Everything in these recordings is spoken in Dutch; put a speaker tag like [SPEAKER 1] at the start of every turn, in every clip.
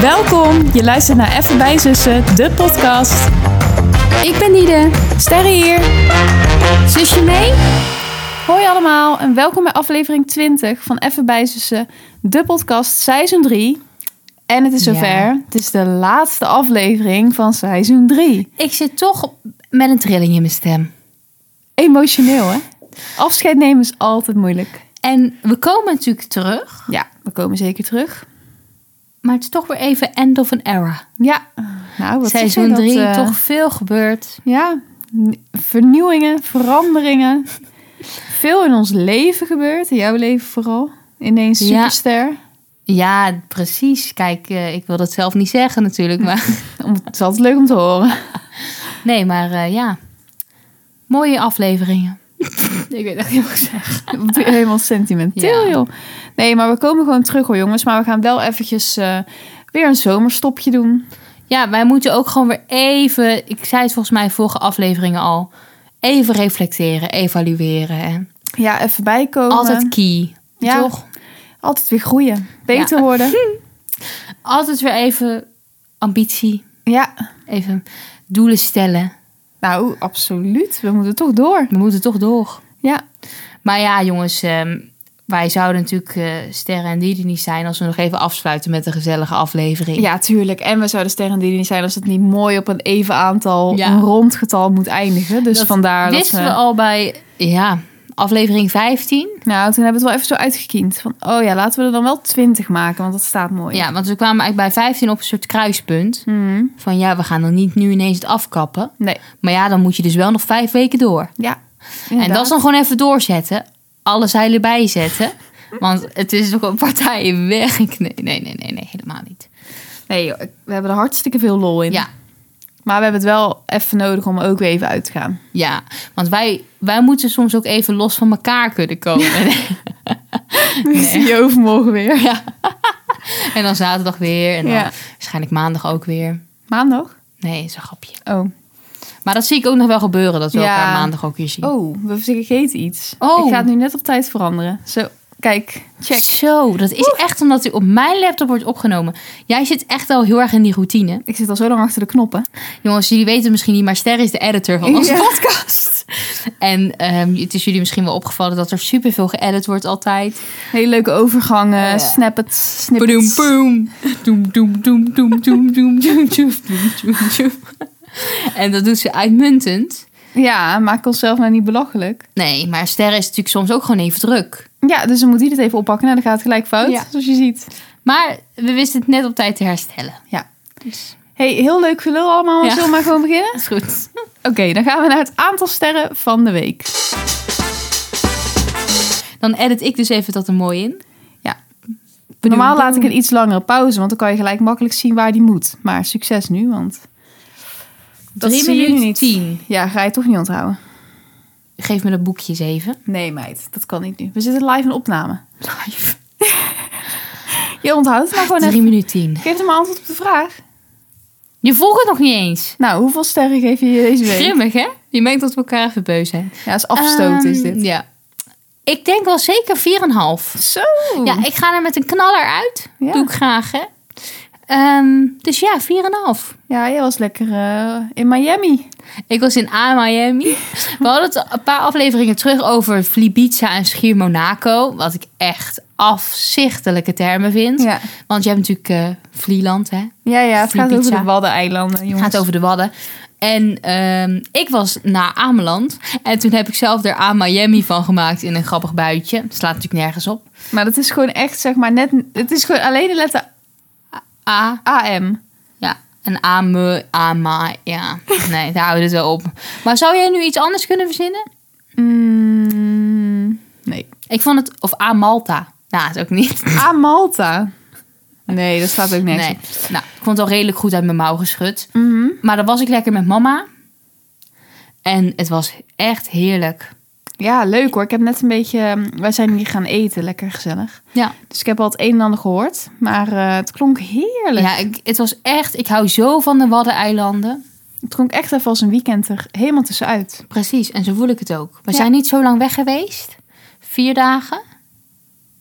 [SPEAKER 1] Welkom, je luistert naar Even bij Zussen, de podcast.
[SPEAKER 2] Ik ben Nide.
[SPEAKER 1] Sterre hier.
[SPEAKER 2] Zusje mee?
[SPEAKER 1] Hoi allemaal en welkom bij aflevering 20 van Even bij Zussen, de podcast seizoen 3. En het is
[SPEAKER 2] Ja.
[SPEAKER 1] zover, het is de laatste aflevering van seizoen 3.
[SPEAKER 2] Ik zit toch met een trilling in mijn stem.
[SPEAKER 1] Emotioneel hè? Afscheid nemen is altijd moeilijk.
[SPEAKER 2] En we komen natuurlijk terug,
[SPEAKER 1] Ja, we komen zeker terug.
[SPEAKER 2] maar het is toch weer even end of an era.
[SPEAKER 1] Ja, nou wat zeg jij
[SPEAKER 2] Seizoen
[SPEAKER 1] dat,
[SPEAKER 2] 3,
[SPEAKER 1] eh,
[SPEAKER 2] toch veel gebeurd.
[SPEAKER 1] Ja, n- vernieuwingen, veranderingen. Veel in ons leven gebeurt, in jouw leven vooral. Ineens
[SPEAKER 2] Ja.
[SPEAKER 1] superster.
[SPEAKER 2] Ja, precies. Kijk, eh, ik wil dat zelf niet zeggen natuurlijk, maar...
[SPEAKER 1] Om- Het is altijd leuk om te horen.
[SPEAKER 2] Nee, maar eh, ja. Mooie afleveringen. ik weet echt heel gezegd.
[SPEAKER 1] Helemaal sentimenteel,
[SPEAKER 2] Ja.
[SPEAKER 1] joh. Nee, maar we komen gewoon terug hoor, jongens. Maar we gaan wel eventjes eh, weer een zomerstopje doen.
[SPEAKER 2] Ja, wij moeten ook gewoon weer even... Ik zei het volgens mij vorige afleveringen al. Even reflecteren, evalueren. Hè.
[SPEAKER 1] Ja, even bijkomen.
[SPEAKER 2] Altijd key,
[SPEAKER 1] Ja.
[SPEAKER 2] toch?
[SPEAKER 1] Altijd weer groeien. Beter
[SPEAKER 2] Ja.
[SPEAKER 1] worden.
[SPEAKER 2] altijd weer even ambitie,
[SPEAKER 1] Ja,
[SPEAKER 2] even doelen stellen.
[SPEAKER 1] nou, absoluut. We moeten toch door.
[SPEAKER 2] We moeten toch door.
[SPEAKER 1] Ja,
[SPEAKER 2] Maar ja, jongens, ehm, wij zouden natuurlijk eh sterren en dieren niet zijn als we nog even afsluiten met een gezellige aflevering.
[SPEAKER 1] ja tuurlijk. En we zouden sterren die niet zijn als het niet mooi op een even aantal,
[SPEAKER 2] Ja.
[SPEAKER 1] een rond getal moet eindigen. Dus
[SPEAKER 2] Dat
[SPEAKER 1] vandaar dat
[SPEAKER 2] Wisten we al bij ja, aflevering 15?
[SPEAKER 1] Nou, toen hebben we het wel even zo uitgekiend. Van, oh ja, laten we er dan wel 20 maken, want dat staat mooi.
[SPEAKER 2] Ja, want we kwamen eigenlijk bij 15 op een soort kruispunt.
[SPEAKER 1] Mhm.
[SPEAKER 2] Van ja, we gaan dan niet nu ineens het afkappen.
[SPEAKER 1] Nee,
[SPEAKER 2] Maar ja, dan moet je dus wel nog vijf weken door.
[SPEAKER 1] ja.
[SPEAKER 2] En dat
[SPEAKER 1] inderdaad.
[SPEAKER 2] is dan gewoon even doorzetten. Alle zeilen bijzetten. Want het is toch een partij weg. Nee, nee, nee, nee, nee, helemaal niet.
[SPEAKER 1] Nee, joh, ik- we hebben er hartstikke veel lol in.
[SPEAKER 2] Ja,
[SPEAKER 1] Maar we hebben het wel even nodig om ook weer even uit te gaan.
[SPEAKER 2] ja. Want wij, wij moeten soms ook even los van elkaar kunnen komen.
[SPEAKER 1] Nu zie je overmorgen weer.
[SPEAKER 2] Ja. En dan zaterdag weer. En dan
[SPEAKER 1] Ja.
[SPEAKER 2] waarschijnlijk maandag ook weer.
[SPEAKER 1] Maandag?
[SPEAKER 2] Nee, is een grapje.
[SPEAKER 1] Oh.
[SPEAKER 2] Maar dat zie ik ook nog wel gebeuren. Dat we
[SPEAKER 1] Ja.
[SPEAKER 2] elkaar maandag ook weer zien.
[SPEAKER 1] Oh, we vergeten iets.
[SPEAKER 2] Oh.
[SPEAKER 1] Ik ga het nu net op tijd veranderen. Zo, kijk. Check.
[SPEAKER 2] Zo, dat is echt omdat hij op mijn laptop wordt opgenomen. Jij zit echt al heel erg in die routine.
[SPEAKER 1] Ik zit al zo lang achter de knoppen.
[SPEAKER 2] Jongens, jullie weten het misschien niet, maar Ster is de editor van onze
[SPEAKER 1] Ja.
[SPEAKER 2] podcast. En ehm, het is jullie misschien wel opgevallen dat er superveel geëdit wordt altijd.
[SPEAKER 1] Hele leuke overgangen,
[SPEAKER 2] Ja.
[SPEAKER 1] snippets,
[SPEAKER 2] Boom,
[SPEAKER 1] snippets.
[SPEAKER 2] boom. Doem, doem, doem, doem, doem, doem, doem, doem, doem, doem. En dat doet ze uitmuntend.
[SPEAKER 1] Ja, maak onszelf nou niet belachelijk.
[SPEAKER 2] Nee, maar Ster is natuurlijk soms ook gewoon even druk.
[SPEAKER 1] Ja, dus dan moet hij het even oppakken. Nou, dan gaat het gelijk fout,
[SPEAKER 2] Ja.
[SPEAKER 1] zoals je ziet.
[SPEAKER 2] Maar we wisten het net op tijd te herstellen.
[SPEAKER 1] Ja.
[SPEAKER 2] Dus
[SPEAKER 1] hey, heel leuk gelul allemaal.
[SPEAKER 2] Ja.
[SPEAKER 1] Zullen we maar gewoon beginnen?
[SPEAKER 2] dat is goed.
[SPEAKER 1] Oké, dan gaan we naar het aantal sterren van de week.
[SPEAKER 2] Dan edit ik dus even dat er mooi in. Bedoel,
[SPEAKER 1] Normaal laat ik een iets langere pauze, want dan kan je gelijk makkelijk zien waar die moet. Maar succes nu, want Dat
[SPEAKER 2] Drie
[SPEAKER 1] zien jullie
[SPEAKER 2] minuten
[SPEAKER 1] niet.
[SPEAKER 2] tien.
[SPEAKER 1] ja, ga je toch niet onthouden.
[SPEAKER 2] Geef me dat boekje eens even.
[SPEAKER 1] Nee, meid, dat kan niet nu. We zitten live in opname.
[SPEAKER 2] Live.
[SPEAKER 1] Je onthoudt het maar gewoon
[SPEAKER 2] Drie
[SPEAKER 1] even.
[SPEAKER 2] minuten tien.
[SPEAKER 1] Geef hem maar antwoord op de vraag.
[SPEAKER 2] Je volgt het nog niet eens.
[SPEAKER 1] Nou, hoeveel sterren geef je deze week?
[SPEAKER 2] Grimmig, hè? Je merkt dat we elkaar even beu zijn.
[SPEAKER 1] Ja, is afstoot is
[SPEAKER 2] Ehm,
[SPEAKER 1] dit.
[SPEAKER 2] Ja. Ik denk wel zeker 4,5.
[SPEAKER 1] Zo.
[SPEAKER 2] Ja, ik ga er met een knaller uit.
[SPEAKER 1] Ja.
[SPEAKER 2] Doe ik graag, hè? Ehm, dus ja, 4,5.
[SPEAKER 1] ja, jij was lekker eh, in Miami.
[SPEAKER 2] Ik was in A Miami. We hadden het een paar afleveringen terug over Flibiza en Schier Monaco. Wat ik echt afzichtelijke termen vind.
[SPEAKER 1] Ja,
[SPEAKER 2] Want je hebt natuurlijk eh Vlieland, hè?
[SPEAKER 1] ja, ja het gaat over
[SPEAKER 2] Pizza.
[SPEAKER 1] de Waddeneilanden,
[SPEAKER 2] Het
[SPEAKER 1] jongens.
[SPEAKER 2] gaat over de Wadden. En ehm, ik was naar Ameland. En toen heb ik zelf er aan Miami van gemaakt in een grappig buitje. Het slaat natuurlijk nergens op.
[SPEAKER 1] Maar dat is gewoon echt, zeg maar, net... Het is gewoon alleen de letter
[SPEAKER 2] A,
[SPEAKER 1] AM.
[SPEAKER 2] ja. En Ame, Ama, ja. Nee, daar houden we het wel op. Maar zou jij nu iets anders kunnen verzinnen?
[SPEAKER 1] Mm, nee.
[SPEAKER 2] Ik vond het... Of Amalta. Nou, dat is ook niet.
[SPEAKER 1] A Malta. Nee, dat staat ook niks.
[SPEAKER 2] Nee. Nou, ik vond het al redelijk goed uit mijn mouw geschud.
[SPEAKER 1] Mhm.
[SPEAKER 2] Maar dan was ik lekker met mama. En het was echt heerlijk.
[SPEAKER 1] Ja, leuk hoor. Ik heb net een beetje... ehm, Wij zijn hier gaan eten, lekker gezellig.
[SPEAKER 2] Ja.
[SPEAKER 1] Dus ik heb al het een en ander gehoord. Maar eh, het klonk heerlijk.
[SPEAKER 2] Ja, ik, het was echt... Ik hou zo van de Waddeneilanden.
[SPEAKER 1] Het klonk echt even als een weekend er helemaal tussenuit.
[SPEAKER 2] Precies, en zo voel ik het ook. We
[SPEAKER 1] Ja.
[SPEAKER 2] zijn niet zo lang weg geweest. Vier dagen.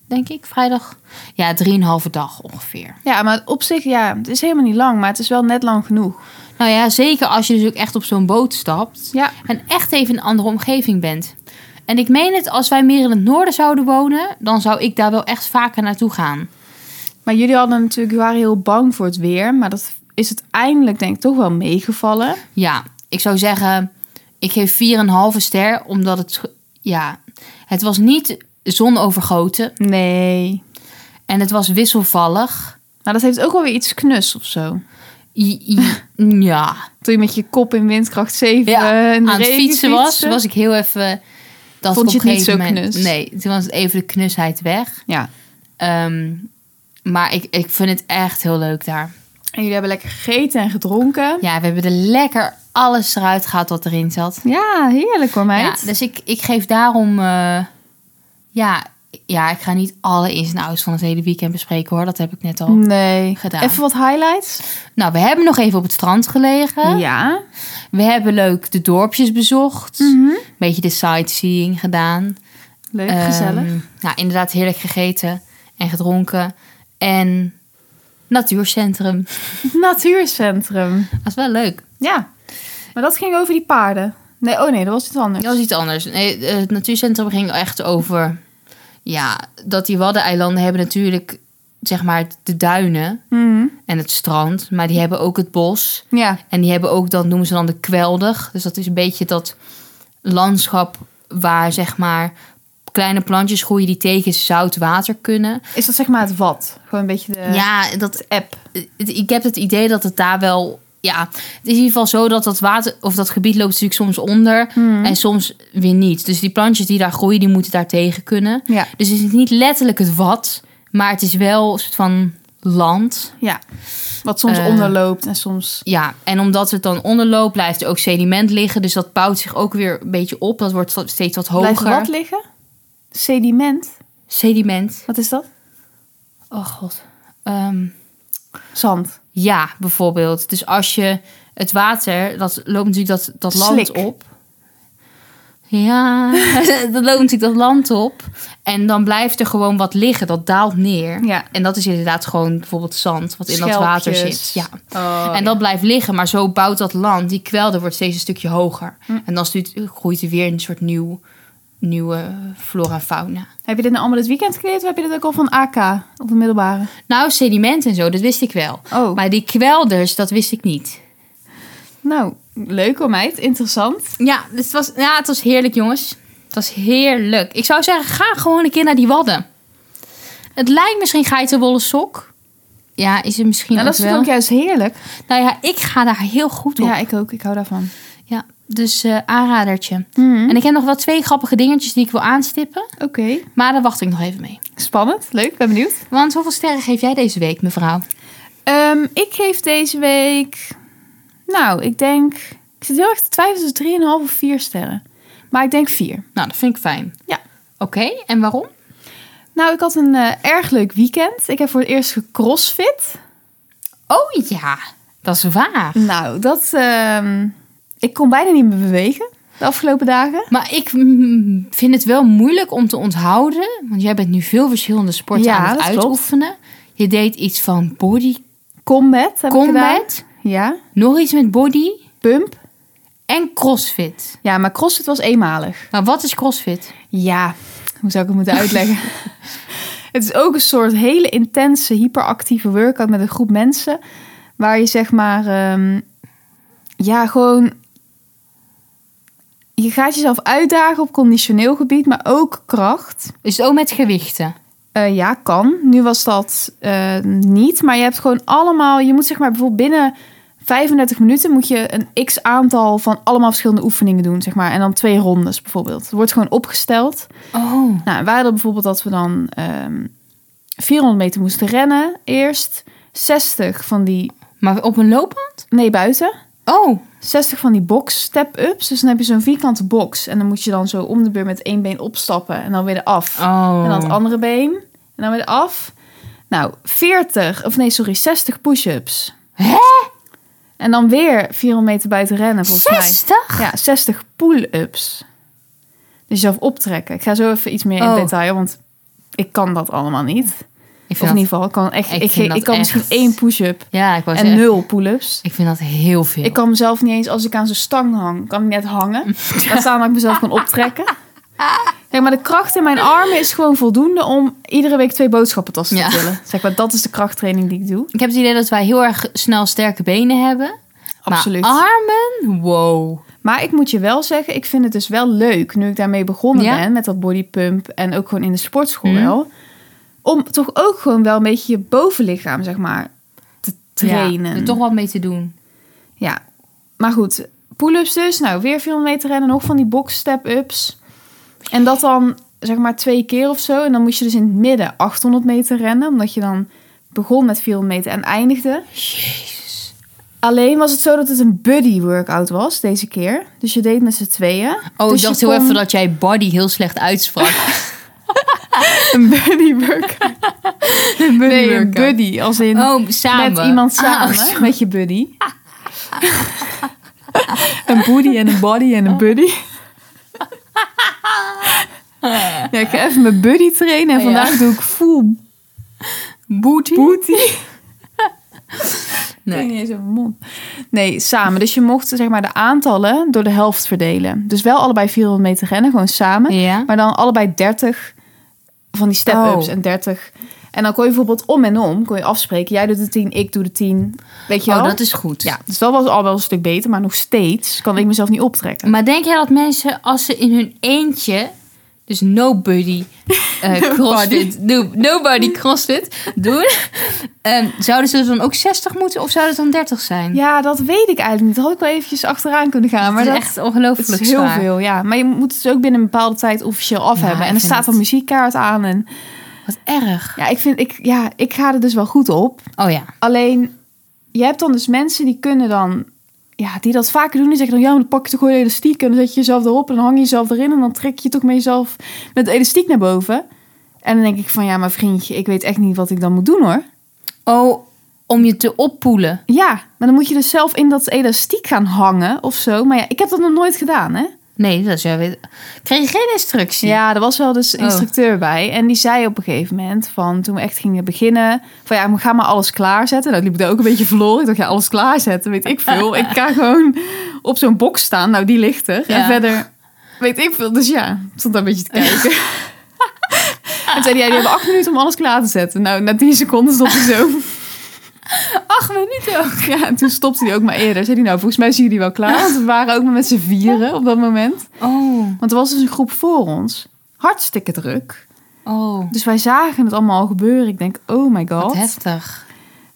[SPEAKER 2] denk ik, vrijdag. Ja, drieënhalve dag ongeveer.
[SPEAKER 1] Ja, maar op zich, ja, het is helemaal niet lang, maar het is wel net lang genoeg.
[SPEAKER 2] Nou ja, zeker als je dus ook echt op zo'n boot stapt.
[SPEAKER 1] Ja.
[SPEAKER 2] En echt even in een andere omgeving bent. En ik meen het, als wij meer in het noorden zouden wonen, dan zou ik daar wel echt vaker naartoe gaan.
[SPEAKER 1] Maar jullie hadden natuurlijk, jullie waren heel bang voor het weer, maar dat is uiteindelijk denk ik toch wel meegevallen.
[SPEAKER 2] Ja, ik zou zeggen, ik geef 4,5 ster, omdat het, ja, het was niet zonovergoten
[SPEAKER 1] Nee.
[SPEAKER 2] en het was wisselvallig.
[SPEAKER 1] Maar dat heeft ook wel weer iets knus of zo.
[SPEAKER 2] I- i- ja,
[SPEAKER 1] Toen je met je kop in windkracht 7
[SPEAKER 2] ja.
[SPEAKER 1] in de
[SPEAKER 2] aan het
[SPEAKER 1] regen
[SPEAKER 2] fietsen was,
[SPEAKER 1] fietste.
[SPEAKER 2] was ik heel even... Dat
[SPEAKER 1] Vond je
[SPEAKER 2] op een
[SPEAKER 1] het niet
[SPEAKER 2] gegeven
[SPEAKER 1] zo
[SPEAKER 2] moment-
[SPEAKER 1] knus?
[SPEAKER 2] Nee, toen was het even de knusheid weg.
[SPEAKER 1] Ja.
[SPEAKER 2] Ehm, maar ik, ik vind het echt heel leuk daar.
[SPEAKER 1] En jullie hebben lekker gegeten en gedronken.
[SPEAKER 2] Ja, we hebben er lekker alles eruit gehaald wat erin zat.
[SPEAKER 1] Ja, heerlijk hoor,
[SPEAKER 2] Ja,
[SPEAKER 1] meid.
[SPEAKER 2] dus ik, ik geef daarom... eh, ja, ja, ik ga niet alle ins en outs van het hele weekend bespreken hoor. Dat heb ik
[SPEAKER 1] Mm.
[SPEAKER 2] net al.
[SPEAKER 1] Nee.
[SPEAKER 2] Gedaan.
[SPEAKER 1] Even wat highlights.
[SPEAKER 2] Nou, we hebben nog even op het strand gelegen.
[SPEAKER 1] Ja.
[SPEAKER 2] We hebben leuk de dorpjes bezocht.
[SPEAKER 1] Mm.
[SPEAKER 2] Een
[SPEAKER 1] Mhm.
[SPEAKER 2] beetje de sightseeing gedaan.
[SPEAKER 1] Leuk, gezellig.
[SPEAKER 2] Ehm, nou, inderdaad heerlijk gegeten en gedronken. En natuurcentrum.
[SPEAKER 1] Ehm, Natuurcentrum.
[SPEAKER 2] Dat is wel leuk.
[SPEAKER 1] Ja. Maar dat ging over die paarden. Nee, oh nee, dat was iets anders.
[SPEAKER 2] Dat was iets anders. Nee, eh, het natuurcentrum ging echt over... Ja, dat die Waddeneilanden hebben natuurlijk... Zeg maar de duinen
[SPEAKER 1] Mhm.
[SPEAKER 2] en het strand. Maar die hebben ook het bos.
[SPEAKER 1] Ja.
[SPEAKER 2] En die hebben ook, dan noemen ze dan de kwelder. Dus dat is een beetje dat landschap waar zeg maar... Kleine plantjes groeien die tegen zout water kunnen.
[SPEAKER 1] Is dat zeg maar het wat? Gewoon een beetje Eh, de
[SPEAKER 2] ja, dat
[SPEAKER 1] app.
[SPEAKER 2] Eh, ik heb het idee dat het daar wel. Ja, het is in ieder geval zo dat dat water of dat gebied loopt natuurlijk soms onder
[SPEAKER 1] Mhm.
[SPEAKER 2] en soms weer niet. Dus die plantjes die daar groeien, die moeten daar tegen kunnen.
[SPEAKER 1] Ja.
[SPEAKER 2] Dus het is niet letterlijk het wat, maar het is wel een soort van land.
[SPEAKER 1] Ja. Wat soms
[SPEAKER 2] Eh.
[SPEAKER 1] onderloopt en soms...
[SPEAKER 2] Ja, en omdat het dan onderloopt, blijft er ook sediment liggen. Dus dat bouwt zich ook weer een beetje op. Dat wordt steeds wat
[SPEAKER 1] Blijft
[SPEAKER 2] hoger.
[SPEAKER 1] wat liggen? Sediment.
[SPEAKER 2] Sediment.
[SPEAKER 1] Wat is dat?
[SPEAKER 2] Oh god. Ehm,
[SPEAKER 1] Zand.
[SPEAKER 2] Ja, bijvoorbeeld. Dus als je het water, dat loopt natuurlijk dat, dat land
[SPEAKER 1] Slik.
[SPEAKER 2] op. Ja, dat loopt natuurlijk dat land op. En dan blijft er gewoon wat liggen, dat daalt neer.
[SPEAKER 1] Ja.
[SPEAKER 2] En dat is inderdaad gewoon bijvoorbeeld zand, wat in dat water
[SPEAKER 1] Schelpjes.
[SPEAKER 2] zit. Ja.
[SPEAKER 1] Oh,
[SPEAKER 2] en dat blijft liggen, maar zo bouwt dat land, die kwelder wordt steeds een stukje hoger.
[SPEAKER 1] Hm.
[SPEAKER 2] En dan stuurt, groeit er weer een soort nieuw, nieuwe flora en fauna.
[SPEAKER 1] Heb je dit nou allemaal dit weekend geleerd? Of heb je dit ook al van AK? Of de middelbare?
[SPEAKER 2] Nou, sediment en zo, dat wist ik wel.
[SPEAKER 1] Oh.
[SPEAKER 2] Maar die kwelders, dat wist ik niet.
[SPEAKER 1] Nou, leuk hoor meid. Interessant.
[SPEAKER 2] Ja, dus het, was, ja, het was heerlijk, jongens. Het was heerlijk. Ik zou zeggen, ga gewoon een keer naar die wadden. Het lijkt misschien geitenwolle sok. Ja, is het misschien
[SPEAKER 1] nou,
[SPEAKER 2] ook
[SPEAKER 1] dat is
[SPEAKER 2] wel.
[SPEAKER 1] ook juist heerlijk.
[SPEAKER 2] Nou ja, ik ga daar heel goed op.
[SPEAKER 1] Ja,
[SPEAKER 2] Ja,
[SPEAKER 1] ik ook. Ik hou daarvan.
[SPEAKER 2] dus eh, aanradertje.
[SPEAKER 1] En-
[SPEAKER 2] En ik heb nog wel twee grappige dingetjes die ik wil aanstippen.
[SPEAKER 1] Oké.
[SPEAKER 2] Maar daar wacht ik nog even mee.
[SPEAKER 1] Spannend. Leuk. Ben benieuwd.
[SPEAKER 2] Want hoeveel sterren geef jij deze week, mevrouw?
[SPEAKER 1] Ehm, ik geef deze week. Nou, ik denk. Ik zit heel erg te twijfelen tussen 3,5 of 4 sterren. Maar ik denk 4.
[SPEAKER 2] Nou, dat vind ik fijn.
[SPEAKER 1] Ja.
[SPEAKER 2] Oké, en waarom?
[SPEAKER 1] Nou, ik had een eh, erg leuk weekend. Ik heb voor het eerst gecrossfit.
[SPEAKER 2] Oh ja, dat is waar.
[SPEAKER 1] Nou, dat. ehm, ik kon bijna niet meer bewegen de afgelopen dagen.
[SPEAKER 2] Maar ik mm, vind het wel moeilijk om te onthouden. Want jij bent nu veel verschillende sporten
[SPEAKER 1] Ja,
[SPEAKER 2] aan het
[SPEAKER 1] dat klopt.
[SPEAKER 2] uitoefenen. Je deed iets van body
[SPEAKER 1] Combat heb ik
[SPEAKER 2] combat.
[SPEAKER 1] gedaan. Ja.
[SPEAKER 2] Nog iets met body.
[SPEAKER 1] Pump.
[SPEAKER 2] En crossfit.
[SPEAKER 1] Ja, maar crossfit was eenmalig.
[SPEAKER 2] Maar wat is crossfit?
[SPEAKER 1] Ja, hoe zou ik het moeten uitleggen? het is ook een soort hele intense, hyperactieve workout met een groep mensen. Waar je zeg maar, ehm, ja, gewoon. Je gaat jezelf uitdagen op conditioneel gebied, maar ook kracht.
[SPEAKER 2] Is het ook met gewichten?
[SPEAKER 1] Eh, ja, kan. Nu was dat eh, niet. Maar je hebt gewoon allemaal. Je moet zeg maar bijvoorbeeld binnen 35 minuten moet je een x aantal van allemaal verschillende oefeningen doen. Zeg maar. En dan twee rondes bijvoorbeeld. Het wordt gewoon opgesteld.
[SPEAKER 2] Oh.
[SPEAKER 1] Nou, wij hadden bijvoorbeeld dat we dan ehm 400 meter moesten rennen eerst. 60 van die,
[SPEAKER 2] Maar op een loopband?
[SPEAKER 1] nee buiten,
[SPEAKER 2] Oh.
[SPEAKER 1] 60 van die box step-ups. Dus dan heb je zo'n vierkante box. En dan moet je dan zo om de beurt met één been opstappen en dan weer eraf.
[SPEAKER 2] Oh.
[SPEAKER 1] En dan het andere been en dan weer eraf. Nou, 40, of nee sorry, 60 push-ups.
[SPEAKER 2] Hè?
[SPEAKER 1] En dan weer 400 meter buiten rennen volgens mij.
[SPEAKER 2] 60?
[SPEAKER 1] Ja, 60 pull-ups. Dus jezelf optrekken. Ik ga zo even iets meer in
[SPEAKER 2] Oh.
[SPEAKER 1] detail, want ik kan dat allemaal niet.
[SPEAKER 2] Ik
[SPEAKER 1] Of
[SPEAKER 2] vind
[SPEAKER 1] in
[SPEAKER 2] dat,
[SPEAKER 1] ieder geval, ik kan, echt,
[SPEAKER 2] ik
[SPEAKER 1] ik,
[SPEAKER 2] vind
[SPEAKER 1] ik,
[SPEAKER 2] dat
[SPEAKER 1] kan
[SPEAKER 2] echt-
[SPEAKER 1] misschien één push-up
[SPEAKER 2] ja, ik, wou
[SPEAKER 1] en
[SPEAKER 2] zeggen,
[SPEAKER 1] nul pull-ups.
[SPEAKER 2] ik vind dat heel veel.
[SPEAKER 1] Ik kan mezelf niet eens, als ik aan zo'n stang hang, kan ik net hangen. Laat staan dat ik mezelf kan optrekken. Zeg maar, de kracht in mijn armen is gewoon voldoende om iedere week twee boodschappentassen
[SPEAKER 2] Ja.
[SPEAKER 1] te tillen. Zeg maar, dat is de krachttraining die ik doe.
[SPEAKER 2] Ik heb het idee dat wij heel erg snel sterke benen hebben. Nou,
[SPEAKER 1] Absoluut.
[SPEAKER 2] Maar armen, wow.
[SPEAKER 1] Maar ik moet je wel zeggen, ik vind het dus wel leuk, nu ik daarmee begonnen
[SPEAKER 2] Ja?
[SPEAKER 1] ben, met dat bodypump en ook gewoon in de sportschool
[SPEAKER 2] Mhm.
[SPEAKER 1] wel, om toch ook gewoon wel een beetje je bovenlichaam, zeg maar, te trainen.
[SPEAKER 2] Ja, er toch wat mee te doen.
[SPEAKER 1] Ja, maar goed. Pull-ups dus. Nou, weer veel meter rennen. Nog van die box step-ups. En dat dan zeg maar twee keer of zo. En dan moest je dus in het midden 800 meter rennen. Omdat je dan begon met 400 meter en eindigde.
[SPEAKER 2] Jezus.
[SPEAKER 1] Alleen was het zo dat het een buddy workout was deze keer. Dus je deed met z'n tweeën.
[SPEAKER 2] Oh,
[SPEAKER 1] dus
[SPEAKER 2] ik dacht
[SPEAKER 1] je
[SPEAKER 2] heel
[SPEAKER 1] kon
[SPEAKER 2] even dat jij body heel slecht uitsprak.
[SPEAKER 1] Een buddy workout.
[SPEAKER 2] Een buddy
[SPEAKER 1] nee, een
[SPEAKER 2] workout.
[SPEAKER 1] buddy. Als in
[SPEAKER 2] Oh, samen.
[SPEAKER 1] met iemand samen.
[SPEAKER 2] Ah,
[SPEAKER 1] met je buddy. een booty en een body en een buddy. Ja, ik ga even mijn buddy trainen en
[SPEAKER 2] Ja.
[SPEAKER 1] vandaag doe ik full
[SPEAKER 2] booty.
[SPEAKER 1] booty. Nee.
[SPEAKER 2] Nee.
[SPEAKER 1] niet eens in mijn mond. Nee, samen. Dus je mocht zeg maar, de aantallen door de helft verdelen. Dus wel allebei 400 meter rennen, gewoon samen.
[SPEAKER 2] Ja.
[SPEAKER 1] Maar dan allebei 30 van die step-ups
[SPEAKER 2] Oh.
[SPEAKER 1] en 30. En dan kon je bijvoorbeeld om en om kon je afspreken. Jij doet de 10, ik doe de 10. Weet je
[SPEAKER 2] Oh,
[SPEAKER 1] wel?
[SPEAKER 2] dat is goed.
[SPEAKER 1] Ja, dus dat was al wel een stuk beter. Maar nog steeds kan ik mezelf niet optrekken.
[SPEAKER 2] Maar denk jij dat mensen als ze in hun eentje, dus nobody eh crossfit, no- nobody crossfit doen, ehm, zouden ze dan ook 60 moeten of zou het dan 30 zijn?
[SPEAKER 1] Ja, dat weet ik eigenlijk niet. Dat had ik wel eventjes achteraan kunnen gaan. Maar
[SPEAKER 2] het
[SPEAKER 1] dat
[SPEAKER 2] is
[SPEAKER 1] is,
[SPEAKER 2] echt ongelooflijk
[SPEAKER 1] het is heel
[SPEAKER 2] zwaar.
[SPEAKER 1] veel, ja. Maar je moet het dus ook binnen een bepaalde tijd officieel af
[SPEAKER 2] Ja,
[SPEAKER 1] hebben.
[SPEAKER 2] ik
[SPEAKER 1] En er
[SPEAKER 2] vind
[SPEAKER 1] staat
[SPEAKER 2] het-
[SPEAKER 1] een muziekkaart aan. En
[SPEAKER 2] Wat erg.
[SPEAKER 1] ja, ik vind, ik, ja, ik ga er dus wel goed op.
[SPEAKER 2] Oh ja.
[SPEAKER 1] Alleen, je hebt dan dus mensen die kunnen dan... Ja, die dat vaker doen. Die zeggen dan, ja, maar dan pak je toch gewoon elastiek. En dan zet je jezelf erop en dan hang je jezelf erin. En dan trek je toch met jezelf met de elastiek naar boven. En dan denk ik van, ja, maar vriendje, ik weet echt niet wat ik dan moet doen, hoor.
[SPEAKER 2] Oh, om je te oppoelen.
[SPEAKER 1] Ja, maar dan moet je dus zelf in dat elastiek gaan hangen of zo. Maar ja, ik heb dat nog nooit gedaan, hè?
[SPEAKER 2] Nee, dat is ja weer... Kreeg je geen instructie?
[SPEAKER 1] Ja, er was wel dus
[SPEAKER 2] Oh.
[SPEAKER 1] instructeur bij. En die zei op een gegeven moment van, toen we echt gingen beginnen... van ja, ga maar alles klaarzetten. Nou, liep ik daar ook een beetje verloren. Ik dacht, ja, alles klaarzetten, weet ik veel. ik ga gewoon op zo'n box staan. Nou, die ligt er.
[SPEAKER 2] Ja.
[SPEAKER 1] En verder, weet ik veel. Dus ja, ik stond daar een beetje te kijken. en zei hij, ja, die hebben acht minuten om alles klaar te zetten. Nou, na tien seconden stond hij zo.
[SPEAKER 2] Acht minuten ook.
[SPEAKER 1] Ja, en toen stopte hij ook maar eerder. Zei hij, nou, volgens mij zijn jullie wel klaar. Want we waren ook maar met z'n vieren op dat moment.
[SPEAKER 2] Oh,
[SPEAKER 1] Want er was dus een groep voor ons. Hartstikke druk.
[SPEAKER 2] oh.
[SPEAKER 1] Dus wij zagen het allemaal al gebeuren. Ik denk, oh my
[SPEAKER 2] Wat
[SPEAKER 1] god.
[SPEAKER 2] heftig.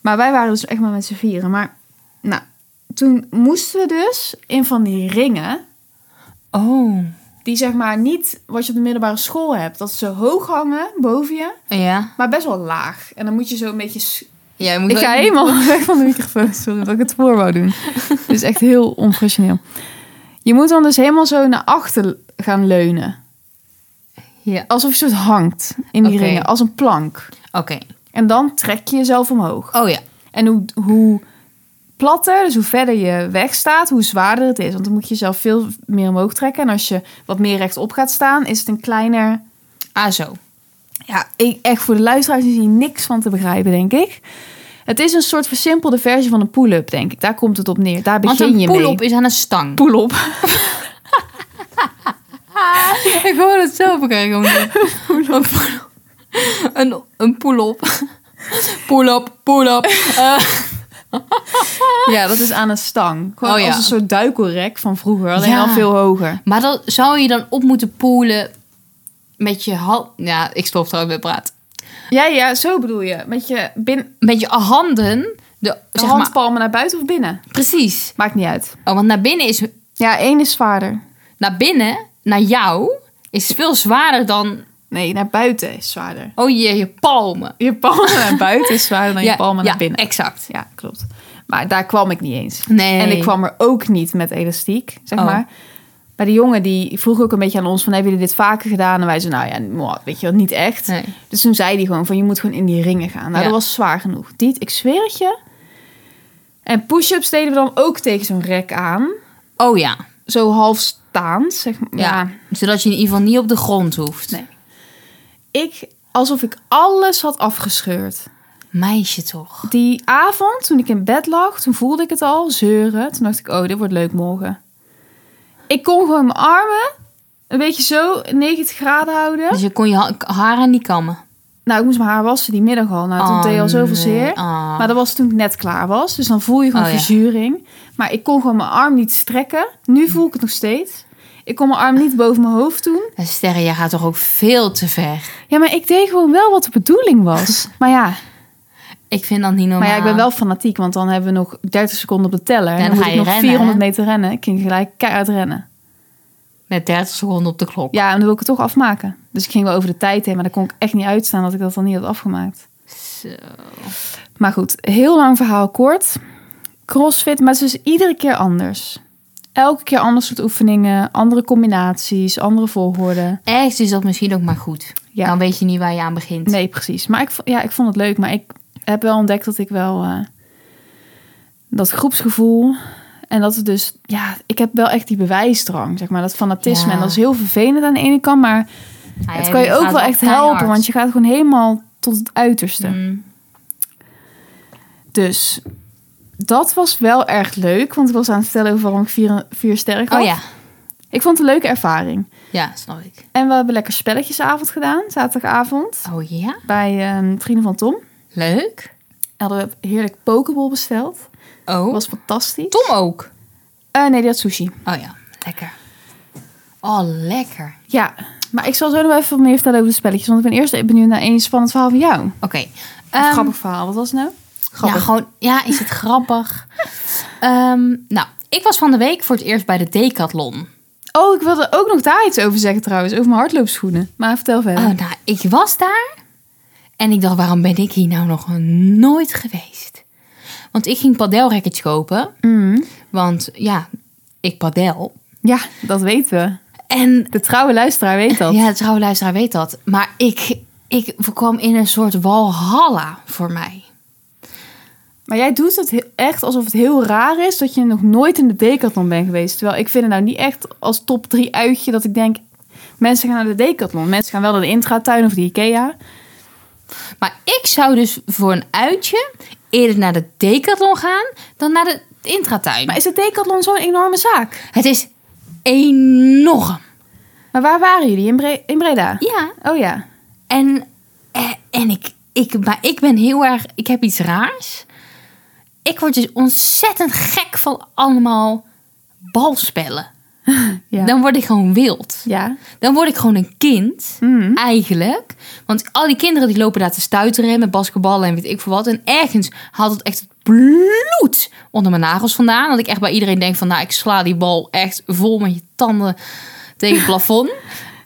[SPEAKER 1] Maar wij waren dus echt maar met z'n vieren. Maar nou, toen moesten we dus in van die ringen...
[SPEAKER 2] Oh.
[SPEAKER 1] die zeg maar niet wat je op de middelbare school hebt... dat ze hoog hangen boven je,
[SPEAKER 2] Ja.
[SPEAKER 1] maar best wel laag. En dan moet je zo een beetje... s-
[SPEAKER 2] ja je moet
[SPEAKER 1] Ik
[SPEAKER 2] wel-
[SPEAKER 1] ga helemaal weg van de microfoon. Sorry dat ik het voor wou doen. Het is echt heel onprofessioneel. Je moet dan dus helemaal zo naar achter gaan leunen.
[SPEAKER 2] Ja.
[SPEAKER 1] Alsof je soort hangt in die
[SPEAKER 2] Oké.
[SPEAKER 1] ringen. Als een plank.
[SPEAKER 2] Oké.
[SPEAKER 1] En dan trek je jezelf omhoog.
[SPEAKER 2] Oh ja.
[SPEAKER 1] En hoe, hoe platter, dus hoe verder je weg staat, hoe zwaarder het is. Want dan moet je jezelf veel meer omhoog trekken. En als je wat meer rechtop gaat staan, is het een kleiner...
[SPEAKER 2] Ah, zo.
[SPEAKER 1] Ja, ik, echt voor de luisteraars is hier niks van te begrijpen, denk ik. Het is een soort versimpelde versie van een pull-up, denk ik. Daar komt het op neer. Daar
[SPEAKER 2] Want
[SPEAKER 1] begin
[SPEAKER 2] een
[SPEAKER 1] je mee.
[SPEAKER 2] pull-up is aan een stang.
[SPEAKER 1] Pull-up.
[SPEAKER 2] Ik hoor het zelf ook eigenlijk Een pull-up. Een, een pull-up. Pull-up, pull-up. Eh.
[SPEAKER 1] Ja, dat is aan een stang. Gewoon
[SPEAKER 2] Oh, ja.
[SPEAKER 1] als een soort duikelrek van vroeger, alleen
[SPEAKER 2] Ja.
[SPEAKER 1] al veel hoger.
[SPEAKER 2] Maar dan zou je dan op moeten poelen met je hand... Ja, ik stop trouwens met praten.
[SPEAKER 1] Ja, ja, zo bedoel je. Met je bin,
[SPEAKER 2] Met je handen... De, zeg maar,
[SPEAKER 1] handpalmen naar buiten of binnen.
[SPEAKER 2] precies.
[SPEAKER 1] Maakt niet uit.
[SPEAKER 2] Oh, want naar binnen is...
[SPEAKER 1] Ja, één is zwaarder.
[SPEAKER 2] Naar binnen, naar jou, is veel zwaarder dan...
[SPEAKER 1] Nee, naar buiten is zwaarder.
[SPEAKER 2] Oh je, je palmen.
[SPEAKER 1] Je palmen naar buiten is zwaarder dan je palmen
[SPEAKER 2] ja,
[SPEAKER 1] naar binnen.
[SPEAKER 2] exact.
[SPEAKER 1] Ja, klopt. Maar daar kwam ik niet eens.
[SPEAKER 2] Nee.
[SPEAKER 1] En ik kwam er ook niet met elastiek, zeg
[SPEAKER 2] Oh.
[SPEAKER 1] maar. Maar die jongen die vroeg ook een beetje aan ons van... hebben jullie dit vaker gedaan? En wij zeiden, nou ja, mwah, weet je wel, niet echt.
[SPEAKER 2] Nee.
[SPEAKER 1] Dus toen zei hij gewoon van, je moet gewoon in die ringen gaan. Nou,
[SPEAKER 2] Ja.
[SPEAKER 1] dat was zwaar genoeg. Diet, ik zweer het je. En push-ups deden we dan ook tegen zo'n rek aan.
[SPEAKER 2] Oh ja.
[SPEAKER 1] Zo half staand, zeg maar.
[SPEAKER 2] ja. Zodat je in ieder geval niet op de grond hoeft.
[SPEAKER 1] Nee. Ik alsof ik alles had afgescheurd.
[SPEAKER 2] Meisje toch.
[SPEAKER 1] Die avond, toen ik in bed lag, toen voelde ik het al, zeuren. Toen dacht ik, oh, dit wordt leuk morgen. Ik kon gewoon mijn armen een beetje zo 90 graden houden.
[SPEAKER 2] Dus je kon je ha- haren niet kammen.
[SPEAKER 1] Nou, ik moest mijn haar wassen die middag al. Nou, toen
[SPEAKER 2] Oh,
[SPEAKER 1] deed al zoveel
[SPEAKER 2] nee.
[SPEAKER 1] zeer.
[SPEAKER 2] Oh.
[SPEAKER 1] Maar dat was toen ik net klaar was. Dus dan voel je gewoon
[SPEAKER 2] Oh, ja.
[SPEAKER 1] verzuring. Maar ik kon gewoon mijn arm niet strekken. Nu voel ik het nog steeds. Ik kon mijn arm niet boven mijn hoofd doen.
[SPEAKER 2] En Sterre, jij gaat toch ook veel te ver.
[SPEAKER 1] Ja, maar ik deed gewoon wel wat de bedoeling was. Maar ja,
[SPEAKER 2] Ik vind dat niet normaal.
[SPEAKER 1] maar ja, ik ben wel fanatiek. Want dan hebben we nog 30 seconden op de teller. En
[SPEAKER 2] dan
[SPEAKER 1] dan, moet
[SPEAKER 2] ga
[SPEAKER 1] ik
[SPEAKER 2] je
[SPEAKER 1] nog
[SPEAKER 2] rennen,
[SPEAKER 1] 400
[SPEAKER 2] hè?
[SPEAKER 1] meter rennen. Ik ging gelijk keihard rennen.
[SPEAKER 2] Met 30 seconden op de klok.
[SPEAKER 1] Ja, en dan wil ik het toch afmaken. Dus ik ging wel over de tijd heen. Maar daar kon ik echt niet uitstaan dat ik dat dan niet had afgemaakt.
[SPEAKER 2] Zo.
[SPEAKER 1] Maar goed, heel lang verhaal kort. Crossfit, maar het is dus iedere keer anders. Elke keer anders soort oefeningen, andere combinaties, andere volgorde.
[SPEAKER 2] Ergens is dat misschien ook maar goed.
[SPEAKER 1] Ja.
[SPEAKER 2] Dan weet je niet waar je aan begint.
[SPEAKER 1] Nee, precies. Maar ik, vo- ja, ik vond het leuk, maar ik heb wel ontdekt dat ik wel eh, dat groepsgevoel en dat het dus, ja, ik heb wel echt die bewijsdrang, zeg maar, dat fanatisme.
[SPEAKER 2] Ja.
[SPEAKER 1] En dat is heel vervelend aan de ene kant, maar
[SPEAKER 2] Hij-
[SPEAKER 1] het kan je
[SPEAKER 2] hij
[SPEAKER 1] ook
[SPEAKER 2] Ah, gaat
[SPEAKER 1] wel echt
[SPEAKER 2] keihard.
[SPEAKER 1] helpen, want je gaat gewoon helemaal tot het uiterste.
[SPEAKER 2] Mm.
[SPEAKER 1] Dus dat was wel erg leuk. Want ik was aan het vertellen over waarom ik vier, vier sterren had.
[SPEAKER 2] Oh ja.
[SPEAKER 1] Ik vond het een leuke ervaring.
[SPEAKER 2] Ja, snap ik.
[SPEAKER 1] En we hebben lekker spelletjesavond gedaan. Zaterdagavond.
[SPEAKER 2] Oh ja?
[SPEAKER 1] Bij eh, vrienden van Tom.
[SPEAKER 2] Leuk.
[SPEAKER 1] Hadden we heerlijk pokeball besteld.
[SPEAKER 2] Oh.
[SPEAKER 1] Dat was fantastisch.
[SPEAKER 2] Tom ook.
[SPEAKER 1] Eh, nee, die had sushi.
[SPEAKER 2] Oh ja, lekker. Oh, lekker.
[SPEAKER 1] Ja, maar ik zal zo nog even wat meer vertellen over de spelletjes. Want ik ben eerst benieuwd naar één spannend verhaal van jou.
[SPEAKER 2] Oké.
[SPEAKER 1] Een
[SPEAKER 2] ehm,
[SPEAKER 1] grappig verhaal. Wat was het nou? Grappig.
[SPEAKER 2] Ja, gewoon, ja, is het grappig? Ehm, nou, ik was van de week voor het eerst bij de Decathlon.
[SPEAKER 1] Oh, ik wilde ook nog daar iets over zeggen trouwens. Over mijn hardloopschoenen. Maar vertel verder.
[SPEAKER 2] Oh, nou, ik was daar en ik dacht, waarom ben ik hier nou nog nooit geweest? Want ik ging padelrackets kopen,
[SPEAKER 1] Mhm.
[SPEAKER 2] want ja, ik padel.
[SPEAKER 1] Ja, dat weten we.
[SPEAKER 2] En
[SPEAKER 1] De trouwe luisteraar weet dat.
[SPEAKER 2] ja, de trouwe luisteraar weet dat. Maar ik, ik kwam in een soort walhalla voor mij.
[SPEAKER 1] Maar jij doet het he- echt alsof het heel raar is dat je nog nooit in de decathlon bent geweest. Terwijl ik vind het nou niet echt als top 3 uitje dat ik denk, mensen gaan naar de decathlon. Mensen gaan wel naar de intratuin of de Ikea.
[SPEAKER 2] Maar ik zou dus voor een uitje eerder naar de Decathlon gaan dan naar de Intratuin.
[SPEAKER 1] Maar is de decathlon zo'n enorme zaak?
[SPEAKER 2] Het is enorm.
[SPEAKER 1] Maar waar waren jullie? In, Bre- in Breda?
[SPEAKER 2] Ja.
[SPEAKER 1] Oh ja.
[SPEAKER 2] En, eh, en ik, ik, maar ik ben heel erg, ik heb iets raars. Ik word dus ontzettend gek van allemaal balspellen.
[SPEAKER 1] Ja.
[SPEAKER 2] Dan word ik gewoon wild.
[SPEAKER 1] ja.
[SPEAKER 2] Dan word ik gewoon een kind,
[SPEAKER 1] Mhm.
[SPEAKER 2] eigenlijk. Want al die kinderen die lopen daar te stuiteren met basketballen en weet ik veel wat. En ergens haalt het echt het bloed onder mijn nagels vandaan. Dat ik echt bij iedereen denk van, nou, ik sla die bal echt vol met je tanden tegen het plafond.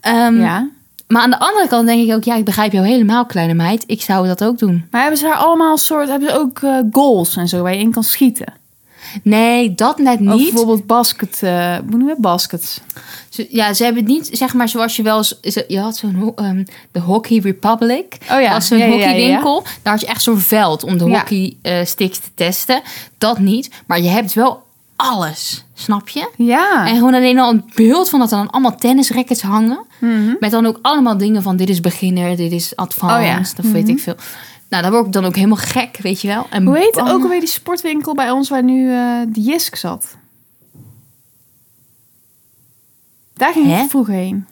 [SPEAKER 2] Ehm,
[SPEAKER 1] ja.
[SPEAKER 2] maar aan de andere kant denk ik ook, ja, ik begrijp jou helemaal, kleine meid. Ik zou dat ook doen.
[SPEAKER 1] Maar hebben ze daar allemaal soort, hebben ze ook eh, goals en zo waar je in kan schieten?
[SPEAKER 2] Nee, dat net
[SPEAKER 1] Of
[SPEAKER 2] niet.
[SPEAKER 1] Oh, bijvoorbeeld basket, eh, hoe noemen we het? baskets?
[SPEAKER 2] Ze- Ja, ze hebben het niet, zeg maar, zoals je wel eens... ze- Je had zo'n, ho- ehm, de Hockey Republic.
[SPEAKER 1] Oh ja,
[SPEAKER 2] Dat was zo'n
[SPEAKER 1] ja, ja, ja,
[SPEAKER 2] hockeywinkel. Daar had je echt zo'n veld om de
[SPEAKER 1] Ja.
[SPEAKER 2] hockeysticks te testen. Dat niet. Maar je hebt wel alles, snap je?
[SPEAKER 1] Ja.
[SPEAKER 2] En gewoon alleen al een beeld van dat er dan allemaal tennisrackets hangen.
[SPEAKER 1] Mhm.
[SPEAKER 2] Met dan ook allemaal dingen van dit is beginner, dit is advanced,
[SPEAKER 1] Oh ja.
[SPEAKER 2] of weet ik veel. Nou, daar word ik dan ook helemaal gek, weet je wel. En
[SPEAKER 1] Hoe heet
[SPEAKER 2] bang.
[SPEAKER 1] ook alweer die sportwinkel bij ons waar nu eh, de Jisk zat? Daar ging
[SPEAKER 2] Hè?
[SPEAKER 1] ik vroeger heen.